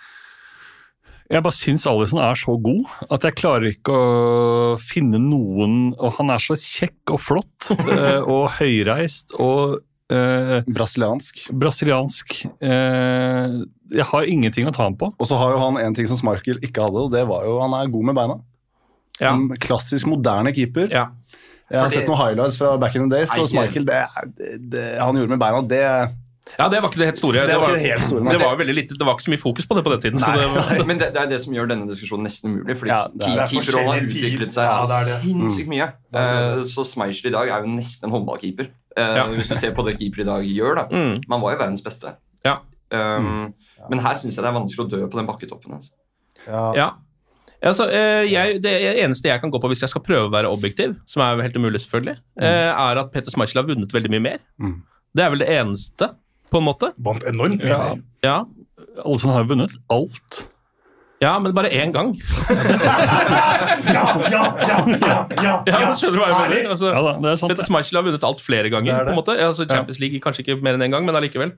F: Jeg bare syns Alison er så god at jeg klarer ikke å finne noen Og han er så kjekk og flott eh, og høyreist og eh,
G: Brasiliansk.
F: brasiliansk eh, Jeg har ingenting å ta ham på.
G: Og så har jo han en ting som Schmeichel ikke hadde, og det var jo han er god med beina.
B: Ja.
G: En klassisk moderne keeper.
B: Ja.
G: Jeg har
E: Fordi-
G: sett noen highlights fra back in the days,
E: Nei,
G: og
E: ikke-
G: Schmeichel det, det, det han gjorde med beina, det
B: ja, det var ikke det helt store.
G: Det var ikke det helt store, nei.
B: det var jo veldig lite, det var ikke så mye fokus på det på den tiden. Så det var,
E: Men det, det er det som gjør denne diskusjonen nesten umulig. Fordi
G: Ja, det er-
E: keep-
D: det er
E: keeperrollen har
D: forskjellig tid.
E: utviklet seg
D: Ja, det
E: så
D: er det.
E: sinnssykt mye.
D: Det er det.
E: Eh, så Schmeichel i dag er jo nesten en håndballkeeper. Eh,
B: Ja.
E: Hvis du ser på det keeper i dag gjør, da.
B: Mm.
E: Man var jo verdens beste.
B: Ja.
E: Um, Men her syns jeg det er vanskelig å dø på den bakketoppen. Altså.
D: Ja.
B: Ja. Altså, eh, jeg, det eneste jeg kan gå på hvis jeg skal prøve å være objektiv, som er jo helt umulig, selvfølgelig, eh, er at Peter Schmeichel har vunnet veldig mye mer.
G: Mm.
B: Det er vel det eneste, på en måte.
D: Vant enormt.
F: Ja.
B: Ja,
F: Alison har jo vunnet alt.
B: ja men bare én gang.
D: Ja, ja, ja, ja, ja,
B: Ja, skjønner du hva jeg mener? Altså,
F: Ja da, det er sant.
B: Peter
F: det.
B: Schmeichel har vunnet alt flere ganger.
D: Det er det.
B: på en måte. Altså, Champions League kanskje ikke mer enn én gang, men allikevel.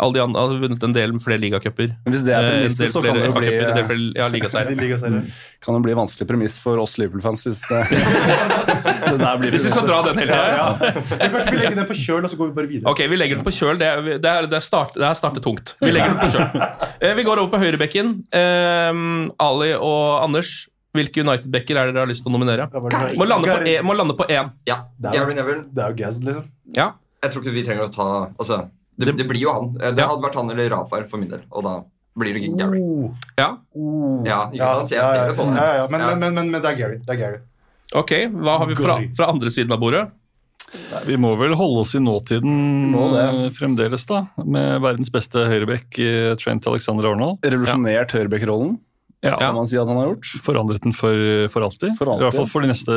B: Alle de andre har vunnet en del flere ligacuper.
G: Men hvis det er
B: Eh, en
G: premisset,
B: del
G: så kan det jo
B: flere
G: bli, eh,
B: FA-cuper, en del flere ja, ligaseiere.
G: kan det bli vanskelig premiss for oss Liverpool-fans hvis det, det der blir
B: Hvis vi skal
G: premisset.
B: dra den hele tida. Ja.
D: Vi legger den på kjøl, og så går vi bare videre.
B: Ok, vi legger den på kjøl. Det, er- det, er, det, er start, det her starter tungt. Vi legger den på kjøl. Eh, vi går over på høyrebekken. Eh, Ali og Anders, hvilke United-bekker er dere har lyst til å nominere?
D: Da var det bare-
B: Må lande på E- én. Må lande på én.
E: Ja,
D: Det er-
E: Gary Neville.
D: Det er jo Gazd, liksom.
B: Ja.
E: Jeg tror ikke vi trenger å ta altså, det, det blir jo han. Eh, Det
B: Ja.
E: hadde vært han eller Rafael for min del. Og da blir det ikke Gary.
D: Oh,
B: ja.
D: oh.
E: Ja, ikke sant? Jeg ser det på deg.
D: ja, ja, ja. Men,
E: Ja.
D: men, men, men det er Gary. Det er Gary.
B: Ok, hva har vi fra, fra andre siden av bordet?
F: Vi må vel holde oss i nåtiden
G: Må det.
F: eh, fremdeles, da. Med verdens beste høyrebekk eh, Trent Alexander Arnold.
G: Revolusjonert høyreback-rollen,
F: Ja,
G: kan man si at han har gjort.
F: Forandret den for, for alltid.
G: For alltid.
F: I hvert fall for de neste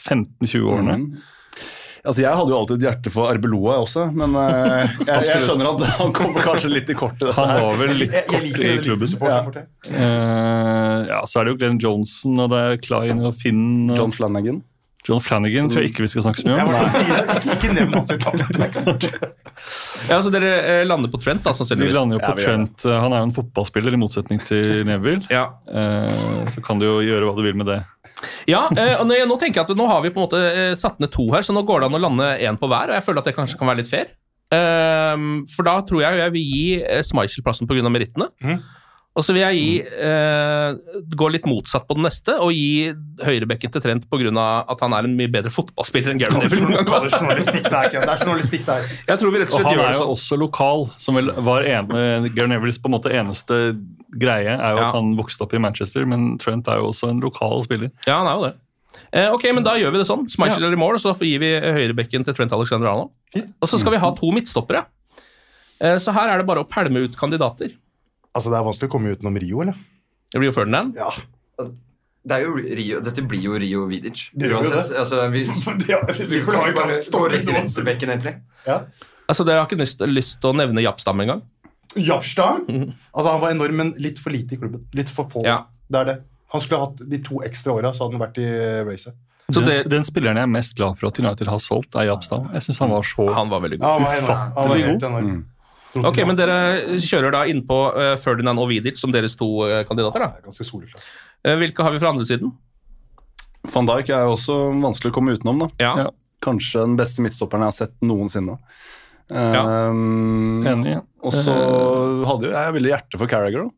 F: 15-20 årene.
G: Mm. Altså, Jeg hadde jo alltid et hjerte for Arbeloa også, men eh, jeg, jeg
F: Absolutt.
G: skjønner at han kommer kanskje litt i kortet. dette
F: Han
G: her.
F: var vel litt kort i klubben.
G: Ja.
F: Eh, ja, Så er det jo Glenn Johnson og det er Klein og Finn og
G: John
F: John,
G: Flanagan.
F: Flanagan tror jeg ikke vi skal snakke så mye
D: Jeg
F: om.
D: må bare si det. Ikke, ikke nevn hans navn.
B: Ja, så dere eh, lander på Trent, da,
F: Vi
B: sannsynligvis.
F: lander jo på
B: Ja, vi gjør det.
F: Trent. Han er jo en fotballspiller, i motsetning til Neville. Eh, Så kan du jo gjøre hva du vil med det.
B: Ja, eh, og nå, nå tenker jeg at nå har vi på en måte eh, satt ned to her, så nå går det an å lande én på hver, og jeg føler at det kanskje kan være litt fair. Ehm, for da tror jeg jeg vil gi eh, Schmeichel plassen pga. merittene. Og så vil jeg gi, eh, gå litt motsatt på den neste og gi høyrebekken til Trent pga. at han er en mye bedre fotballspiller enn Gary Neville. noen gang. Jeg tror vi rett
F: Og
B: og slett
F: han
B: gjør
F: er
B: det
F: jo
B: sånn.
F: også lokal, som vel var ene Gary Nevilles på en måte eneste greie er jo
B: Ja.
F: at han vokste opp i Manchester, men Trent er jo også en lokal spiller.
B: Ja, han er jo det. Eh, ok, men da gjør vi det sånn. Schmeichel er i mål, og så gir vi eh, høyrebekken til Trent Alexander Arnold. Og så skal vi ha to midtstoppere. Eh, så her er det bare å pælme ut kandidater.
D: Altså, Det er vanskelig å komme utenom Rio, eller?
B: Det blir jo Ferdinand.
D: Ja.
E: Det er jo Rio, dette blir jo Rio Vidic.
D: Det gjør jo
E: Uansett.
D: det.
E: Altså, vi, vi kan ikke bare stå rett i venstrebekken, egentlig.
B: Altså, Dere har ikke lyst, lyst til å nevne Jappstam engang?
D: Japstang? Altså, han var enorm, men litt for lite i klubben. Litt for få.
B: Ja.
D: Det er det. Han skulle hatt de to ekstra åra, så hadde han vært i racet.
B: Så
F: Den,
B: det-
F: den spilleren jeg er mest glad for at United har solgt, er Japstad. Jeg syns han var så
B: Han var veldig god.
D: Ja, han var enorm. Mm. Han var
F: ufattelig
D: helt
F: god.
D: enorm.
B: Ok, men Dere kjører da innpå eh, Ferdinand og Vidic som deres to eh, kandidater. da.
D: Det er ganske soleklart.
B: Eh, hvilke har vi fra andre siden?
G: Van Dijk er jo også vanskelig å komme utenom. da.
B: Ja.
F: Ja.
G: Kanskje den beste midtstopperen jeg har sett noensinne.
B: Ja.
G: Ehm,
F: Enig. Eh.
G: Og så hadde jo jeg veldig hjerte for Carragher, da.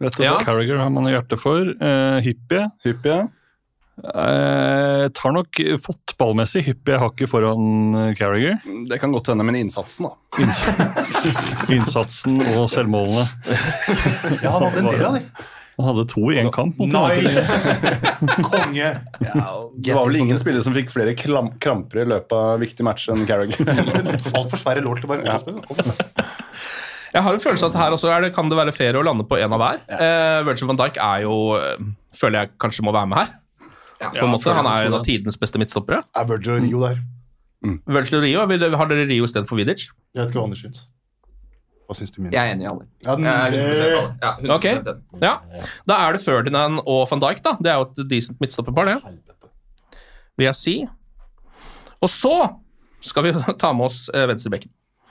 G: Rett og
B: Ja.
G: slett.
F: Carragher har man hjerte for. Eh, hyppie
G: Hyppig, ja.
F: eh, tar nok fotballmessig hyppie hakket foran eh, Carragher.
G: Det kan godt hende, men innsatsen, da.
F: Innsatsen og selvmålene.
D: Ja, han hadde en del av de.
F: Han hadde to i én kamp. mot United.
D: Nice! Konge!
G: Det var vel ingen
F: sånn-
G: spillere som fikk flere klam kramper i løpet av viktige matcher enn Carragher.
D: Altfor svære lår til å bare spille.
B: Jeg har en følelse at her også er det, kan det være fair å lande på én av hver. Eh, Virgil van Dijk er jo eh, Føler jeg kanskje må være med her. på en måte. Han er jo en av tidenes beste midtstoppere.
D: Er Virgil og Rio der?
B: Virgil og Rio, vil- har dere Rio istedenfor Vidic?
D: Jeg vet ikke hva Anders syns. Hva syns du, Mine?
E: Jeg er enig i alle.
D: Ja, den- Eh,
E: Jeg er 100% alle. Ja, 100%
B: Ok.
E: enig.
B: Ja. Da er det Ferdinand og van Dijk, da. Det er jo et decent midtstopperpar, det. Vil jeg si. Og så skal vi ta med oss eh, venstrebekken.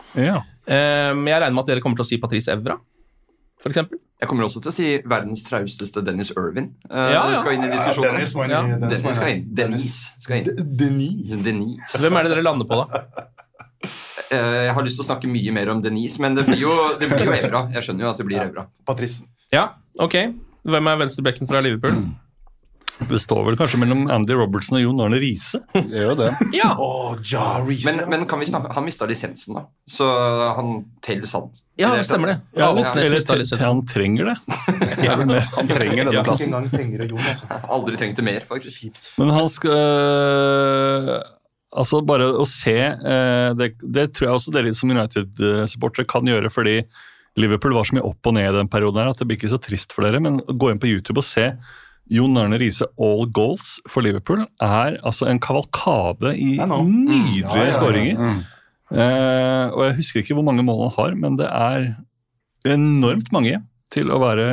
F: Ja.
B: Eh, men jeg regner med at dere kommer til å si Patrice Evra, for eksempel.
E: Jeg kommer også til å si verdens trausteste Dennis Irvin. Uh,
B: ja.
E: Skal inn i diskusjonen.
D: Dennis må inn
B: Ja,
D: i- Dennis
E: Dennis
D: må
E: skal inn.
D: inn.
E: Dennis skal inn.
D: Denis.
E: Denise.
B: Hvem er det dere lander på, da?
E: Eh, Jeg har lyst til å snakke mye mer om Denise, men det blir jo, det blir jo Evra. Jeg skjønner jo at det blir Evra.
D: Patrice.
B: Ja, ok. Hvem er venstrebekken fra Liverpool?
F: Det står vel kanskje mellom Andy Robertson og Jon Arne Riise.
G: Gjør jo det.
B: Ja,
D: Oh, ja, Reece.
E: Men, men kan vi snakke, han mista lisensen, da. Så han telles han.
B: ja det stemmer det.
F: Ja,
B: Alex Nesmith
F: eller
B: har
F: til,
B: lisens.
F: til han trenger det.
B: Ja.
G: Han trenger denne
D: Ikke
B: Ja.
G: plassen.
D: engang penger og jord, altså.
E: Aldri trengte mer, faktisk.
D: Kjipt.
F: Men han skal øh, Altså, bare å se øh, det, det tror jeg også dere som United-supportere kan gjøre, fordi Liverpool var så mye opp og ned i den perioden her at det blir ikke så trist for dere. Men gå inn på YouTube og se Jon Arne Riise all goals for Liverpool er altså en kavalkade i
D: I know.
F: nydelige
D: Ja, ja, ja.
F: skåringer.
G: Mm.
F: Eh, og jeg husker ikke hvor mange mål han har, men det er enormt mange til å være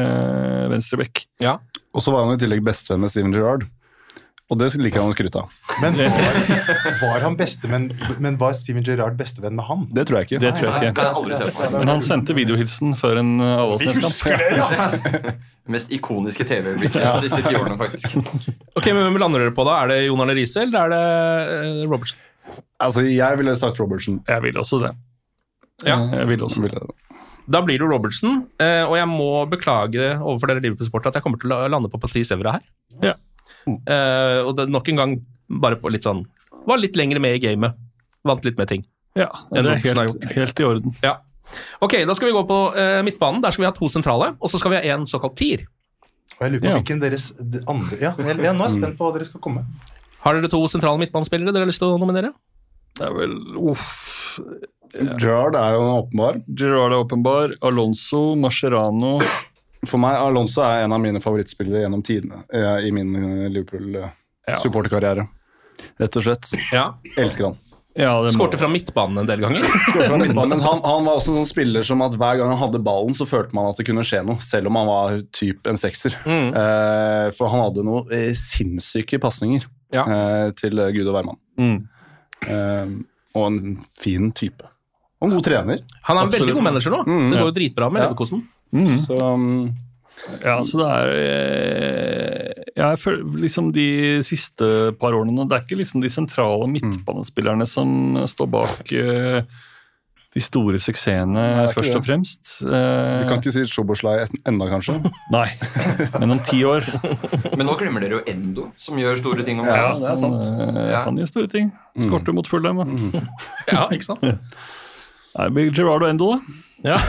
F: venstreback.
G: Og så var han i tillegg bestevenn med Steven Gerrard. Og det liker han å skryte av.
D: Men var, var han bestevenn Men var Steven Gerrard bestevenn med han?
G: Det tror jeg ikke.
F: Det tror jeg
E: Det
F: ikke.
E: har jeg aldri sett på.
F: Men han sendte videohilsen før en øh, Avaldsnes-kamp.
E: Det mest ikoniske TV-øyeblikket de siste ti årene, faktisk.
B: Ok, men Hvem lander dere på, da? Er det Jon Arne Riise eller er det eh, Robertson?
G: Altså, jeg ville sagt Robertson.
F: Jeg vil også det. Eh,
B: Ja.
F: Jeg vil også det.
G: Ville-
B: Da blir det Robertson, eh, og jeg må beklage overfor dere Liverpool-sportere at jeg kommer til å lande på Patrice Evra her.
F: Ja.
B: Eh, og det, er nok en gang bare på litt sånn Var litt lengre med i gamet. Vant litt mer ting.
F: Ja,
B: Enn
F: det er
B: Robertsen har
F: helt,
B: gjort.
F: helt i orden.
B: Ja. Ok, da skal vi gå på eh, midtbanen. Der skal vi ha to sentrale, og så skal vi ha en såkalt tier.
D: Og jeg lurer på
F: Ja.
D: hvilken deres d- andre ja, jeg, ja, Nå er jeg spent på hva dere skal komme med.
B: Har dere to sentrale midtbanespillere dere har lyst til å nominere?
F: Det er vel uff.
G: Gerrard er jo en åpenbar.
F: Gerard er åpenbar. Alonso, Mascherano
G: For meg, Alonso er en av mine favorittspillere gjennom tidene eh, i min eh,
F: Ja.
G: Liverpool-supporterkarriere. Rett og slett.
B: Ja.
G: Elsker han.
F: ja, det må-
B: Skårte fra midtbanen en del ganger.
G: Skåret fra midtbanen, Men han, han var også en sånn spiller som at hver gang han hadde ballen, så følte man at det kunne skje noe, selv om han var typ en sekser. Eh, for han hadde noen eh, sinnssyke pasninger
B: Ja.
G: Mm. eh, til eh, gud og hvermann.
F: Mm.
G: Eh, og en fin type. Og en god trener.
B: Han er en veldig god manager nå. Det går jo dritbra med Leverkosen.
G: Så, um,
F: Ja, så det er eh, Jeg føler liksom de siste par årene nå Det er ikke liksom de sentrale midtbanespillerne som står bak eh, de store suksessene,
G: det er ikke
F: først og
G: det.
F: fremst.
G: Vi
F: Eh,
G: kan ikke si Sjoboslai ennå, kanskje.
F: Nei, men om ti år
E: Men nå glemmer dere jo Endo, som gjør store ting. om
F: Ja,
E: dagen.
F: det er sant. Han gjør store ting. Skorter mot Fulham. da.
B: Ja, ikke sant?
F: Nei, Det blir Gerard og Endo, da.
B: Ja.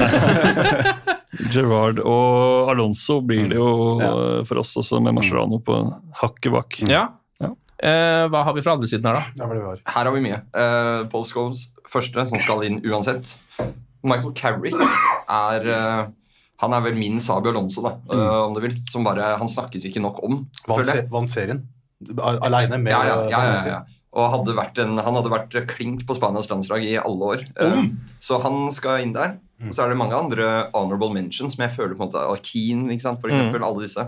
F: Gerard og Alonso blir det
B: Mm.
F: jo eh, for oss også, med Marcerano på hakket bak.
B: ja.
F: Ja.
B: Eh, hva har vi fra andre siden her, da?
D: Det var det vi var.
E: Her har vi mye. Eh, Paul Scholes, første, som skal inn uansett. Michael Carrick er eh, Han er vel min Sabi Alonso, da, eh, om du vil. Som bare Han snakkes ikke nok om.
D: Vant,
E: føler jeg.
D: se, vant serien. A- Aleine med
E: Ja, ja, ja, ja, ja. Og hadde vært en, han hadde vært klink på Spanias landslag i alle år. Eh, Så han skal inn der. Og så er det mange andre honorable mentions, som jeg føler på en måte og Keane, ikke sant, for
B: Mm.
E: eksempel. Alle disse.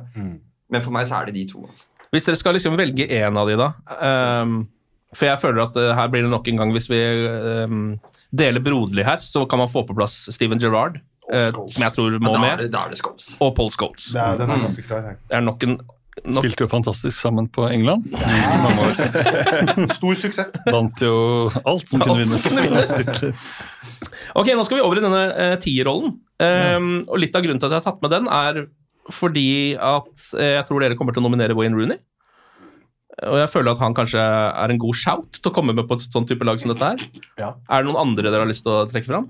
E: Men for meg så er det de to. Altså.
B: Hvis dere skal liksom velge én av de, da ehm, For jeg føler at eh, her blir det nok en gang Hvis vi ehm, deler broderlig her, så kan man få på plass Steven Gerrard, eh,
D: Scholes.
B: som jeg tror
E: Men da
B: må
E: er
B: med,
E: det, da er det Scholes.
B: og Paul Scholes.
D: Det er, den er ganske klar.
B: Det er nok en nok,
F: Spilte jo fantastisk sammen på England.
D: jeg. Stor suksess.
F: Vant jo alt som kunne
B: Alt som kunne
F: vinnes.
B: Ok, nå skal vi over i denne eh, tierrollen. Ehm, Og litt av grunnen til at jeg har tatt med den, er fordi at eh, jeg tror dere kommer til å nominere Wayne Rooney. Og jeg føler at han kanskje er en god shout til å komme med på et sånn type lag som dette her.
D: Ja.
B: Er det noen andre dere har lyst til å trekke fram?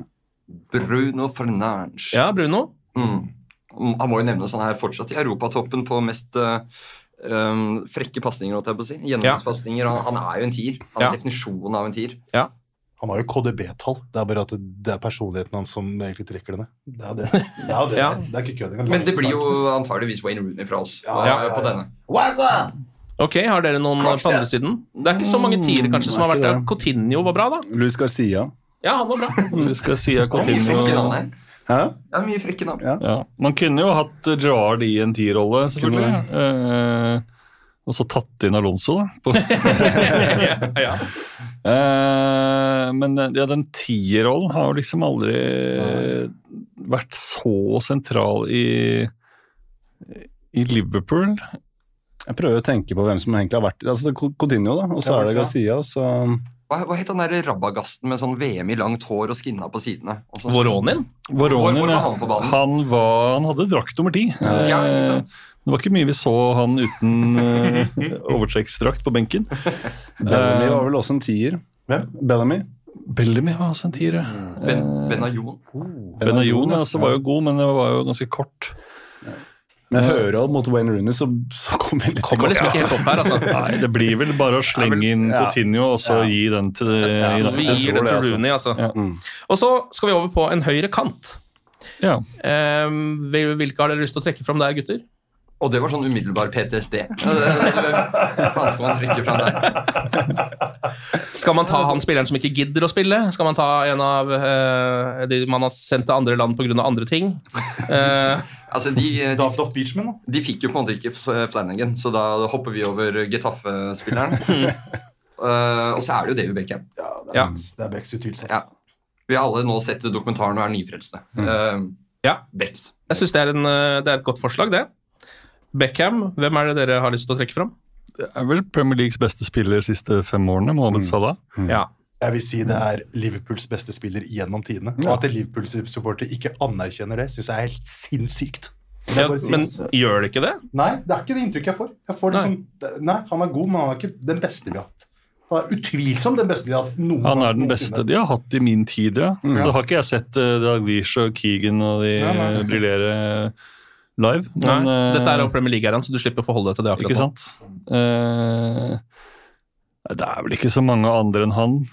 E: Bruno Fernandes.
B: Ja, Bruno?
E: Mm. Han må jo nevnes, han er fortsatt i europatoppen på mest eh, um, frekke pasninger, holdt jeg på å si. Gjennomgangspasninger. Han, han er jo en tier. Han er
B: Ja.
E: definisjonen av en tier.
D: Han har jo KDB-tall. Det er bare at det- det er personligheten hans som egentlig trekker det ned. Det er det. Det er, jo det.
B: Ja.
D: Det er ikke kødd engang.
E: Men det blir jo antageligvis Wayne Rooney fra oss
D: Ja,
E: eh,
D: ja, ja,
E: på
D: ja.
E: denne.
D: What's up?
B: Ok, Har dere noen på andre siden? Det er ikke så mange tiere kanskje som har
F: Mm,
B: vært der. Cotinio var bra, da.
G: Luis Garcia.
B: Ja, han var bra.
F: Du skal si jeg
E: Det er mye frekke
F: Coutinho
E: navn her.
G: Hæ?
E: Det er mye frekke navn.
G: Ja.
F: ja. Man kunne jo hatt eh, Gerard i en tierrolle, selvfølgelig.
G: Kunne
F: Eh, og så tatt inn Alonso, da. På,
B: ja.
F: eh, men eh, ja, den tierrollen har jo liksom aldri vært så sentral i, i Liverpool.
G: Jeg prøver å tenke på hvem som egentlig har vært Altså Codinho, da. Og så
D: Ja,
G: er det
D: ja.
G: Garcia. Og så
E: Hva, hva het han der rabagasten med sånn VM i langt hår og skinna på sidene? Og sånn-
B: Voronin?
F: Voronin,
E: Hvor- hvor var
F: ja.
E: han på banen?
F: Han, var, han hadde drakt nummer ti.
E: Ja, ikke
F: Eh,
E: sant?
F: Det var ikke mye vi så han uten eh, overtrekksdrakt på benken.
G: Bellamy
F: Eh,
G: var vel også en tier.
D: Hvem?
G: Bellamy.
F: Bellamy var også en tier. ja.
E: Ben, Benayoun.
F: Benayoun ja, også var jo god, men det var jo ganske kort.
G: Men jeg hører at mot Wayne Rooney så, så kommer jeg litt
B: Kommer liksom ikke helt opp her, altså.
F: Nei, det blir vel bare å slenge inn
G: Ja.
F: Coutinho og så gi den til gi den
B: Vi
F: til
B: gir
F: Tor,
B: den
F: det,
B: til
F: altså.
B: Rooney, altså.
F: Ja.
B: Og så skal vi over på en høyre kant.
F: Ja.
B: Ehm, hvil- hvilke har dere lyst til å trekke fram der, gutter?
E: Og det var sånn umiddelbar PTSD. Ja, det- Hva faen skal man trekke fram der?
B: Skal man ta han spilleren som ikke gidder å spille? Skal man ta en av eh, de man har sendt til andre land pga. andre ting? Eh,
E: Altså, de, de
D: Davidoff Beachman, da.
E: De fikk jo på en måte ikke F- Flanagan, så da hopper vi over Getafe-spilleren. Eh, og så er det jo David Beckham.
D: Ja, det
B: Ja.
D: er, Becks- det er Becks utvilsomt.
E: Ja. Vi har alle nå sett dokumentaren og er nyfrelste. Eh,
B: Ja.
E: Becks.
B: jeg syns det, er en, eh, det er et godt forslag, det. Beckham, hvem er det dere har lyst til å trekke fram?
F: Det er vel Premier Leagues beste spiller de siste fem årene, Mohammed Salah.
B: Ja.
D: Jeg vil si det er Liverpools beste spiller gjennom tidene. Og at Liverpool-supporter ikke anerkjenner det, syns jeg er helt sinnssykt. Det er
B: Ja,
D: bare
B: men
D: sinns-
B: gjør det ikke det?
D: Nei, det er ikke det inntrykket jeg får. Jeg får
B: Nei.
D: liksom, det- nei, Han er god, men han er ikke den beste vi har hatt. Han er utvilsomt den beste vi har hatt noen
F: Han er
D: gang
F: den beste
D: noensinne.
F: de har hatt i min tid, ja. Så har ikke jeg sett uh, Daglish og Keegan og de
D: Nei, nei.
F: eh, briljere live.
B: Nei.
F: men, eh,
B: Dette er jo Premier League-æraen, så du slipper å forholde deg til det akkurat
F: Ikke
B: nå.
F: sant? Eh, det er vel ikke så mange andre enn han.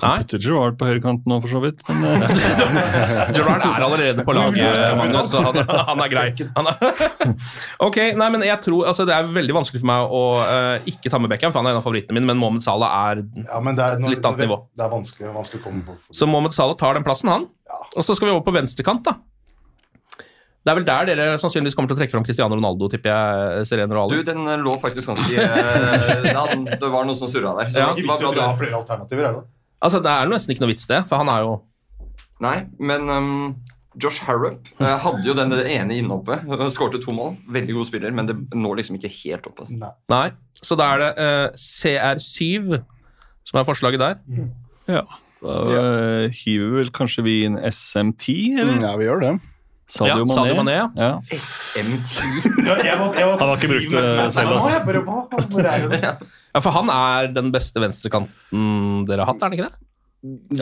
B: Nei.
F: Putter Gerard på høyrekant nå, for så vidt. Men, eh,
B: Gerrard er allerede på laget, eh, Magnus, så han, han er grei. Han er. Ok, nei, men jeg tror, altså, Det er veldig vanskelig for meg å eh, ikke ta med Beckham, for han er en av favorittene mine, men Mohammed Salah er
D: Ja, men det er, når-
B: Litt annet
D: det-
B: nivå.
D: Det er vanskelig, vanskelig å komme på.
B: Så Mohammed Salah tar den plassen, han. Og så skal vi over på venstrekant, da. Det er vel der dere sannsynligvis kommer til å trekke fram Cristiano Ronaldo, tipper jeg. Serena
E: Du,
B: Ronaldo.
E: den eh, lå faktisk ganske eh, da- Det var noe som surra der. Så
B: Ja,
E: det
D: Det
E: var
D: viktig
E: bra
D: å ha
E: det.
D: flere alternativer, er det?
B: Altså, det er nesten ikke noe vits, det, for han er jo
E: Nei, men ehm, Josh Harrop eh, hadde jo den ene innhoppet. eh, Skårte to mål. Veldig god spiller, men det når liksom ikke helt opp. Altså.
B: Nei. Så da er det eh, CR7 som er forslaget der.
F: Ja. Da eh, hiver vel kanskje vi inn SM10, eller?
G: Ja, vi gjør det.
F: Sadio
B: Ja,
F: Mané.
B: Sadio Mané, ja.
F: ja.
E: SM10.
F: Han har ikke brukt det selv, altså.
B: Ja, For han er den beste venstrekanten dere har hatt, er han ikke det?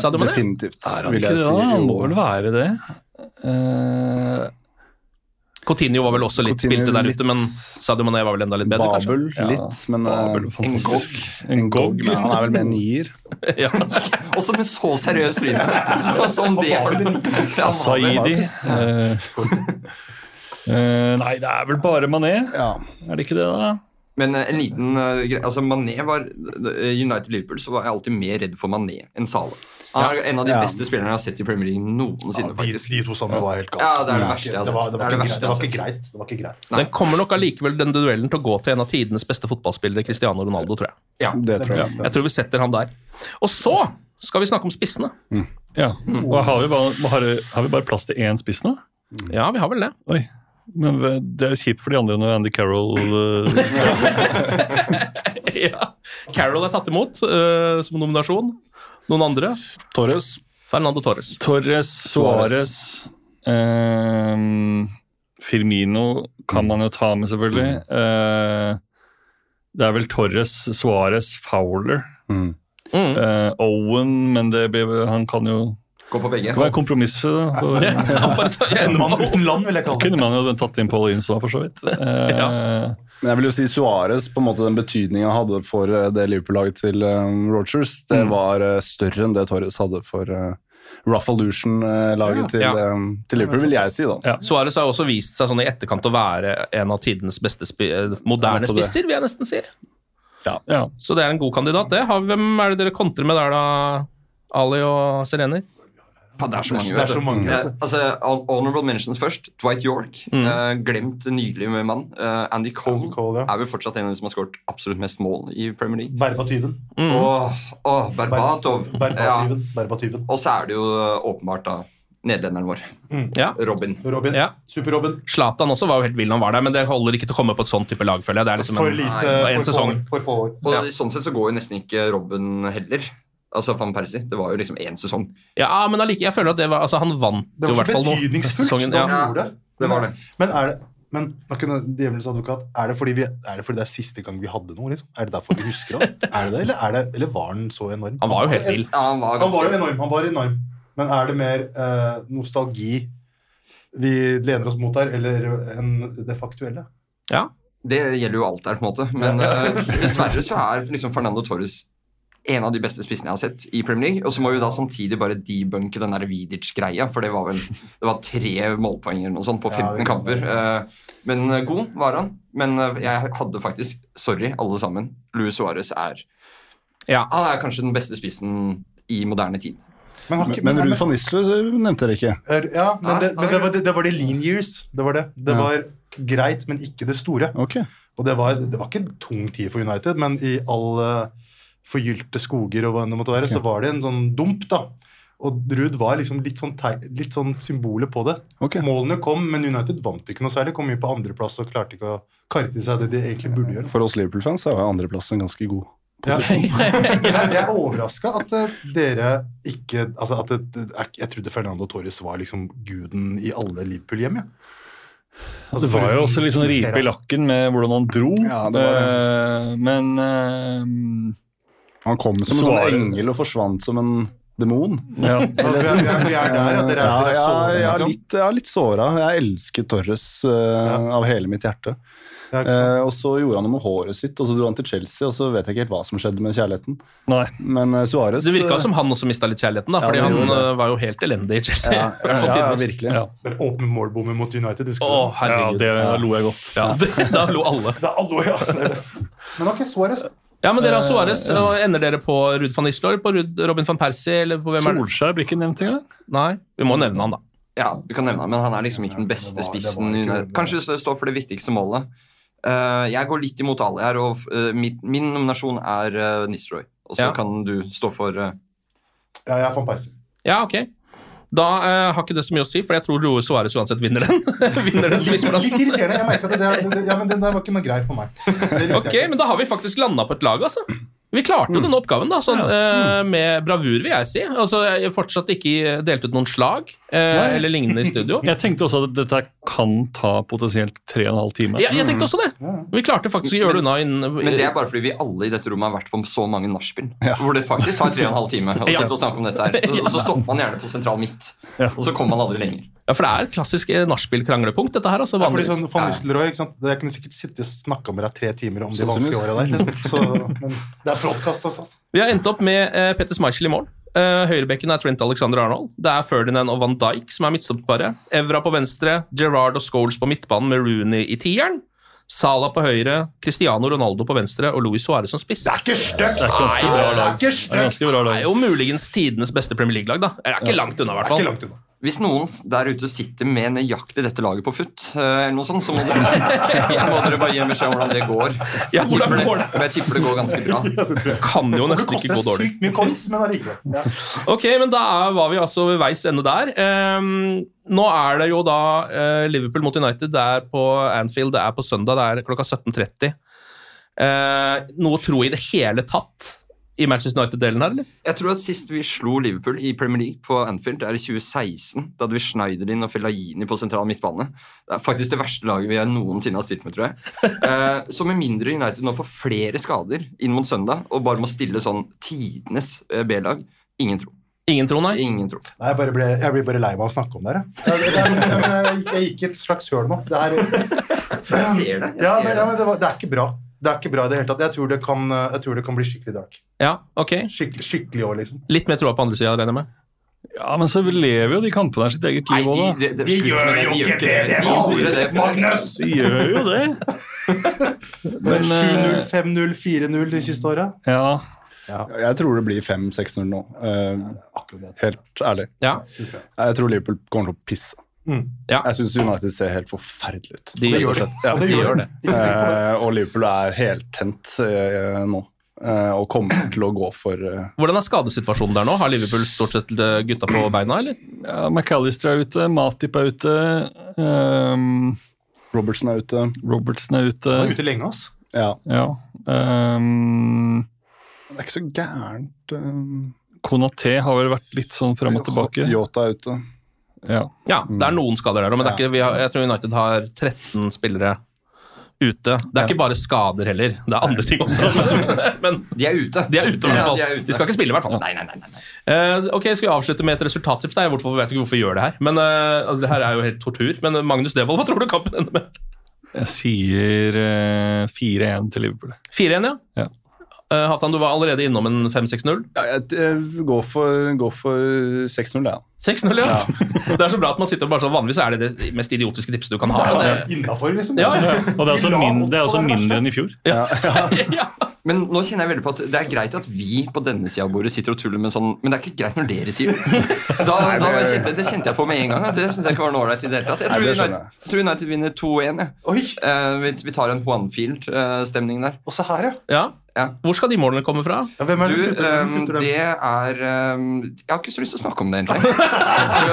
B: Sadio Mané?
G: Definitivt,
F: Er han
G: vil
F: ikke
G: jeg
F: det, da?
G: si.
F: Han må
G: Jo.
F: vel være det. Eh,
B: Coutinho var vel også litt
G: Coutinho
B: spilte der
G: litt-
B: ute, men Sadio Mané var vel enda litt bedre,
G: Babel
F: Ja.
G: litt, men eh,
F: Babel, fantastisk.
G: En gog. Men han er vel med en nier.
B: kanskje? Ja.
E: Også med så seriøst tryne. Så- Som det er vel en- Ja, han var
F: Saidi.
E: vel-
F: eh, eh, nei, det er vel bare Mané.
G: Ja.
F: Er det ikke det, da?
E: Men eh, en liten eh, gre- altså Mané var eh, United Liverpool så var jeg alltid mer redd for Mané enn Salah. Han er en av de
G: Ja.
E: beste spillerne jeg har sett i Premier League noensinne.
I: de,
E: faktisk.
I: de to sammen var helt galt.
E: altså. Ja, det er det
I: ikke-
E: verste jeg har
I: det var-
E: sett.
I: det
E: Det er
I: var
E: det
I: ikke greit.
E: verste
I: Det var ikke
E: jeg
I: greit. Det var ikke greit.
E: Nei.
B: Den kommer nok allikevel den duellen til å gå til en av tidenes beste fotballspillere, Cristiano Ronaldo, tror jeg.
E: Ja.
G: Det tror jeg.
B: Jeg tror vi setter han der. Og så skal vi snakke om spissene.
F: Ja. Og har, vi bare, har, har vi bare plass til én spiss nå?
B: Ja, vi har vel det.
F: Oi. Men v- det er jo kjipt for de andre når Andy Carroll eh,
B: ja. Carol er tatt imot eh, som nominasjon. Noen andre?
G: Torres.
B: Fernando Torres.
F: Torres, Suárez eh, Firmino kan man jo ta med, selvfølgelig. Eh, det er vel Torres, Suárez, Fowler.
G: Mm.
B: Mm.
F: eh, Owen, men det blir, han kan jo
E: Gå på begge.
F: Det var en kompromiss. da. Så-
B: Han bare tar-
D: En mann uten land, vil jeg kalle det.
F: Kunne man jo tatt inn Paul Insa, for så vidt. Eh,
G: Men jeg vil jo si Suárez, på en måte den betydningen han hadde for eh, det Liverpool-laget til um, Rogers,
B: Mm.
G: det var eh, større enn det Torres hadde for uh, Ruffalution-laget til,
B: Ja.
G: eh, til Liverpool, vil jeg si, da.
F: Ja.
B: Suárez har også vist seg sånn i etterkant å være en av tidenes beste spi eh, moderne
G: Nettopp det.
B: spisser, vil jeg nesten si.
F: ja.
B: Så det er en god kandidat, det. Har, hvem er det dere kontrer med der, da? Ali og Sereni?
E: Faen, det er så mange.
D: Det er så mange, vet
E: Eh, altså, hon- honorable mentions først. Dwight York. eh, glemt nylig med mann. Eh, Andy Cole,
D: Andy Cole, ja.
E: er vel fortsatt en av de som har skåret absolutt mest mål i Premier League.
D: Berba tyven.
E: Åh, åh, Berbatov. Ja.
D: Berba-tyven. Berba-tyven.
E: Og så er det jo eh, åpenbart da nederlenderen vår,
B: Ja.
E: Robin.
D: Robin.
B: Ja.
D: Super-Robin.
B: Zlatan også var jo helt vill når han var der, men det holder ikke til å komme på et sånt type lag, føler jeg. Det er liksom
D: For
B: en-
D: lite,
B: det var en
D: for få,
B: sesong.
D: år, for få år.
E: Og
B: Ja.
E: i sånn sett så går jo nesten ikke Robin heller. Altså Van Persie. Det var jo liksom én sesong.
B: Ja, men allike, jeg føler at det var, altså, han vant
D: Det
B: jo i
D: var
B: hvert
D: så
B: fall nå.
D: betydningsfullt
B: Sesongen,
D: da
B: ja.
D: han gjorde det.
E: det var det.
D: Men er det men da kunne djevelens advokat, er det, fordi vi, er det fordi det er siste gang vi hadde noe? Liksom? Er det derfor vi husker han? Er det det, eller, er det, eller var han så enorm?
B: Han var jo helt vill.
E: Ja, han var
D: Han var jo
E: ganske
D: enorm, han var enorm. Men er det mer eh, nostalgi vi lener oss mot her, eller eh, enn det faktuelle?
B: Ja.
E: Det gjelder jo alt der, på en måte. Men eh, dessverre så er liksom Fernando Torres en av de beste spissene jeg har sett i Premier League. Og så må vi da samtidig bare debunke den der Vidic-greia, for det var vel det var tre målpoeng eller noe sånt på
D: Ja,
E: 15
D: det kan
E: kamper. Eh, men eh, god var han. Men eh, jeg hadde faktisk Sorry, alle sammen. Luis Suárez er
B: Ja.
E: Han er kanskje den beste spissen i moderne tid.
D: Men, har ikke-
G: Men, men Ruud van Nistelrooy nevnte dere ikke.
D: er- Ja, men, det, men det, var, det, det var de lean years. Det var det. Det
G: Ja.
D: var greit, men ikke det store.
G: Ok.
D: Og det var, det var ikke en tung tid for United, men i alle forgylte skoger og hva enn det måtte være, så var det en sånn dump, da. Og Ruud var liksom litt sånn, tei- litt sånn symbolet på det.
G: Ok.
D: Målene kom, men United vant ikke noe særlig. Kom mye på andreplass og klarte ikke å karte i seg det de egentlig burde gjøre.
G: For oss Liverpool-fans så er andreplassen ganske god.
D: Ja. Jeg jeg er overraska at eh, dere ikke altså at det, jeg, jeg trodde Fernando Torres var liksom guden i alle Liverpool-hjem, jeg. Altså,
F: Det var jo
D: foruten-
F: også litt sånn ripe i lakken med hvordan han dro.
G: Ja, det var
F: Eh, men eh,
G: Han kom som en sånn
F: Suarez.
G: engel og forsvant som en demon. Eh,
F: ja.
D: Altså, vi er, vi er- vi er der, ja. Dere er, dere er
G: ja,
D: såret,
G: jeg, er
D: liksom.
G: litt, jeg er litt såra. Jeg elsker Torres eh, av hele mitt hjerte.
D: Ja, ikke sant?
G: Eh, og så gjorde han noe med håret sitt, og så dro han til Chelsea, og så vet jeg ikke helt hva som skjedde med kjærligheten.
F: Nei.
G: Men eh, Suarez
B: Det virka som han også mista litt kjærligheten, da,
G: Ja,
B: fordi
G: det
B: han
G: gjorde det.
B: eh, var jo helt elendig i Chelsea.
G: ja,
B: i hvert fall
G: ja, ja,
B: tidvis.
G: virkelig.
F: Ja.
D: Den åpne målbommen mot United, husker
B: Å,
D: du? det?
F: ja,
B: herregud.
F: det da lo jeg godt.
B: Ja, det, da lo alle.
D: Det er alvor, ja. Det er det. Men ok, Suárez.
B: Ja, men dere
G: Eh,
B: har Suárez. Ender dere på Ruud van Nistelrooy, på Ruud- Robin van Persie, eller på hvem er det?
F: Solskjær blir ikke nevnt engang.
B: Nei, vi må nevne han, da.
E: Ja, vi kan nevne han, men han er liksom ikke den
D: det
E: beste
D: var- det var
E: spissen.
D: ikke-
E: under- Kanskje det står for det viktigste målet. Eh, jeg går litt imot alle her, og eh, mitt, min nominasjon er uh, Nisroy. Og så
B: Ja.
E: kan du stå for eh,
D: Ja, jeg er van Persie.
B: Ja, ok. Da eh, har ikke det så mye å si, for jeg tror Luis Suárez uansett vinner den. vinner den
D: Litt, litt
B: spiseplassen.
D: irriterende. Jeg merket at det, det, det, ja, men den der var ikke noe grei for meg.
B: Ok, men da har vi faktisk landa på et lag, altså. Vi klarte
F: Mm.
B: jo denne oppgaven da, sånn, eh, med bravur, vil jeg si. Altså, jeg fortsatt ikke delt ut noen slag eh,
F: Nei.
B: eller lignende i studio.
F: Jeg tenkte også at dette kan ta potensielt tre og en halv time.
B: Ja, jeg tenkte også det. Vi klarte faktisk å gjøre det unna. innen-
E: Men det er bare fordi vi alle i dette rommet har vært på så mange nachspiel. Hvor det faktisk tar tre og en halv time å
B: Ja.
E: sitte og snakke om dette her. Og så stopper man gjerne på sentral midt, og så kommer man aldri lenger.
B: Ja, for det er et klassisk eh, nachspiel-kranglepunkt, dette her. Altså,
D: Ja, fordi
B: vanligvis.
D: sånn Van Nistelrooy, ikke sant? Jeg kunne sikkert sitte og snakka med deg tre timer om de
B: Sannsynligvis.
D: vanskelige åra der. Liksom. Så, men det er podkast også. altså.
B: Vi har endt opp med eh, Petter Schmeichel i mål. Eh, høyrebekken er Trent Alexander Arnold. Det er Ferdinand og Van Dijk som er midtstopperparet. Evra på venstre, Gerrard og Scholes på midtbanen med Rooney i tieren. Salah på høyre, Cristiano Ronaldo på venstre og Luis Suárez som spiss. Det er
D: ikke stygt!
B: Det er ganske bra lag.
D: Det
B: er ganske bra lag. Det er jo muligens tidenes beste Premier League-lag, da. Det er ikke langt unna, i hvert fall.
E: Hvis noen der ute sitter med nøyaktig dette laget på futt, eh, eller noe sånt, så må dere, må dere bare gi en beskjed om hvordan det går.
B: Ja, hvordan
E: tipper det-
B: går det?
E: for Jeg tipper det går ganske bra.
B: Kan jo nesten
D: koster
B: ikke gå dårlig.
D: sykt mye koks, men allikevel. Ja.
B: Ok, men da er- var vi altså ved veis ende der. Ehm, nå er det jo da eh, Liverpool mot United. Det er på Anfield, det er på søndag, det er klokka 17.30. Eh, noe tro i det hele tatt i Manchester United-delen her, eller?
E: Jeg tror at sist vi slo Liverpool i Premier League på Anfield, det er i 2016. Da hadde vi Schneiderlin og Fellaini på sentral midtbane. Det er faktisk det verste laget vi har noensinne har stilt med, tror jeg. Eh, Så med mindre United nå får flere skader inn mot søndag og bare må stille sånn tidenes eh, B-lag, ingen tro.
B: Ingen tro, nei?
E: Ingen tro.
D: Nei, jeg, bare ble, jeg blir bare lei meg av å snakke om det her. jeg. Det er- det er- Jeg gikk- jeg gikk i et slags høl nå. Det er,
E: Jeg ser det. Jeg
D: ja,
E: ser
D: men,
E: det.
D: ja, men det, var, det er ikke bra. Det er ikke bra i det hele tatt. Jeg tror det kan, jeg tror det kan bli skikkelig dark.
B: Ja, ok.
D: Skikkelig, skikkelig år, liksom.
B: Litt mer troa på andre sida, regner jeg med.
F: Ja, men så lever jo de kampene her sitt eget liv òg, da.
E: det- det- De slutt gjør med det, de jo gjør ikke ikke det, det. de De gjorde gjorde det det, før. Magnus!
F: De gjør jo det. Men, eh,
D: 7-0, 5-0, 4-0 de siste åra.
F: Ja.
G: Jeg tror det blir 5-6-0 nå. Eh, helt ærlig.
B: Ja.
G: Jeg tror Liverpool kommer til å pisse.
D: Mm.
B: Ja.
G: Jeg syns United ser helt forferdelig ut.
B: De
G: rett
B: gjør
G: og
B: det.
G: slett. Ja.
B: Og de gjør det.
G: Eh, og Liverpool er heltent eh, nå. Eh, og kommer til å gå for eh,
B: Hvordan er skadesituasjonen der nå? Har Liverpool stort sett eh, gutta på beina, eller?
F: ja, McAllister er ute, Matip er ute. ehm,
G: Robertson er ute.
F: Robertson er ute.
D: Han var ute lenge, ass.
G: Ja.
F: Ja. ehm,
G: Det er ikke så gærent. eh.
F: Konaté har vel vært litt sånn frem og tilbake.
G: Yota er ute.
F: Ja.
B: Ja, så det er noen skader der òg, men det er ikke, vi har, jeg tror United har 13 spillere ute. Det er ikke bare skader heller, det er andre ting også. Men
E: de er ute.
B: De er ute, i hvert fall.
E: Ja,
B: de,
E: de er ute.
B: skal ikke spille, i hvert fall.
E: Nei, nei, nei, nei.
B: Eh, ok, Skal vi avslutte med et resultattips? Nei, Jeg vet ikke hvorfor vi gjør det her, men eh, det her er jo helt tortur. Men eh, Magnus Devold, hva tror du kampen ender med?
F: Jeg sier eh, 4-1 til Liverpool.
B: 4-1, ja?
F: Ja.
B: Eh, Halvdan, du var allerede innom en 5-6-0.
G: Ja, jeg, jeg går for, går for 6-0, jeg.
B: 6-0, ja. Det er så bra at man sitter og bare sånn Vanligvis er det det mest idiotiske tipset du kan ha.
D: Det
B: Det,
D: er innafor, liksom.
B: Ja, ja.
F: Og det er også, min, det er også mindre enn i fjor.
E: Men nå kjenner jeg veldig på at det er greit at vi på denne sida av bordet sitter og tuller med sånn Men det er ikke greit når dere sier det. Da, da var jeg kjente, det kjente jeg på med en gang. At det syns jeg ikke var noe ålreit i det hele tatt. Jeg tror
G: Nei, det skjønner
E: United, jeg tror United vinner 2-1. jeg. Eh, vi, vi tar en Juanfield-stemning der.
D: Også her, ja.
B: ja.
E: Ja.
B: Hvor skal de målene komme fra?
D: ja hvem er
E: Du,
D: det som putter det? Hvem
E: ehm,
D: putter
E: det
D: det?
E: er ehm, Jeg har ikke så lyst til å snakke om det, egentlig.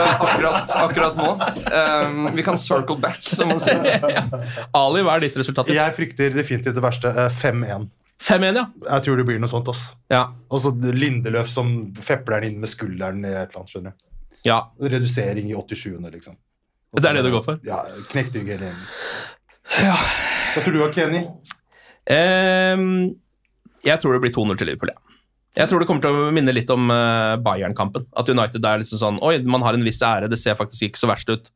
E: Akkurat, akkurat nå. Ehm, vi kan circle back, som man sier.
B: Ali, hva er ditt resultattips?
D: Jeg frykter definitivt det verste. Eh, 5-1.
B: 5-1, ja.
D: Jeg tror det blir noe sånt. ass.
B: ja.
D: Og så Lindeløf som fepler den inn med skulderen i et eller annet. skjønner du.
B: Ja,
D: Redusering i 87. liksom.
B: Det er det du går for?
D: Ja, Knekt rygg hele gjengen. Hva tror du, Kenny?
B: Ehm, jeg tror det blir 2-0 til Liverpool, ja. Jeg tror det kommer til å minne litt om eh, Bayern-kampen. At United er liksom sånn Oi, man har en viss ære, det ser faktisk ikke så verst ut.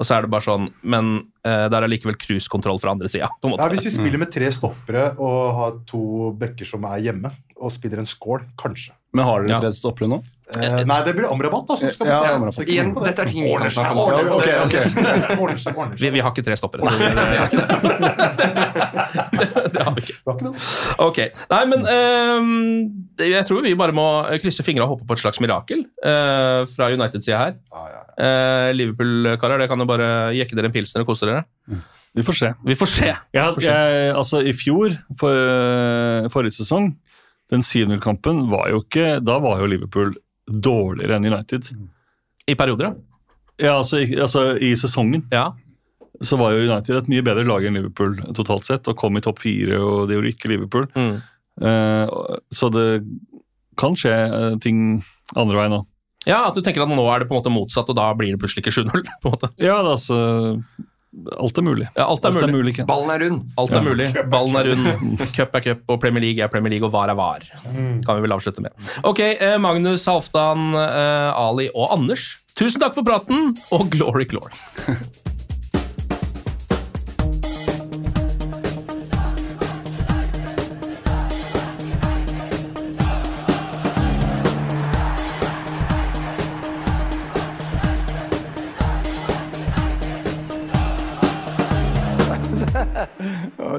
B: Og så er det bare sånn Men eh, der er likevel cruisekontroll fra andre sida, på
D: Ja,
B: en måte.
D: hvis vi spiller med tre stoppere og har to bekker som er hjemme, og spiller en skål, kanskje.
G: Men har dere
B: Ja.
G: tredje stoppere nå?
D: Eh, nei, det blir Amrabat da, som skal
G: Ja,
D: bestemme.
G: Amrabat.
D: Så ikke
E: Igjen,
D: tenk på det.
E: dette er ting vi kan snakke om.
D: Ordner
G: Ok, ok.
D: seg, ordner seg, ordner seg.
B: Vi, vi har ikke tre stoppere. så Det, det, det, det har vi ikke.
D: Det var ikke det, altså.
B: Ok. Nei, men ehm, det- jeg tror vi bare må krysse fingra og håpe på et slags mirakel eh, fra United-sida her.
D: Ah, Ja, ja, ja.
B: Eh, Liverpool-karer, det kan jo bare jekke dere en pilsner og kose dere.
F: Vi får se.
B: Vi får se.
F: Jeg, jeg, altså, I fjor, for, forrige sesong,
B: Mm.
F: den 7-0-kampen var jo ikke Da var jo Liverpool dårligere enn United.
B: I perioder, ja.
F: Ja, altså, i- altså i sesongen så var jo United et mye bedre lag enn Liverpool totalt sett, og kom i topp fire, og det gjorde ikke Liverpool.
B: Mm.
F: Eh, og- så det kan skje eh, ting andre veien òg.
B: Ja, At du tenker at nå er det på en måte motsatt, og da blir det plutselig ikke 7-0. på en måte.
F: Ja, altså Alt er mulig.
B: Ja, alt er mulig.
F: Ken.
E: Ballen er rund.
B: Alt
F: Ja.
B: er mulig. Ballen er rund, cup er cup, og Premier League er Premier League, og VAR er VAR. Kan vi vel avslutte med. Ok, eh, Magnus, Halvdan, eh, Ali og Anders, tusen takk for praten, og glory, glory.
H: oh,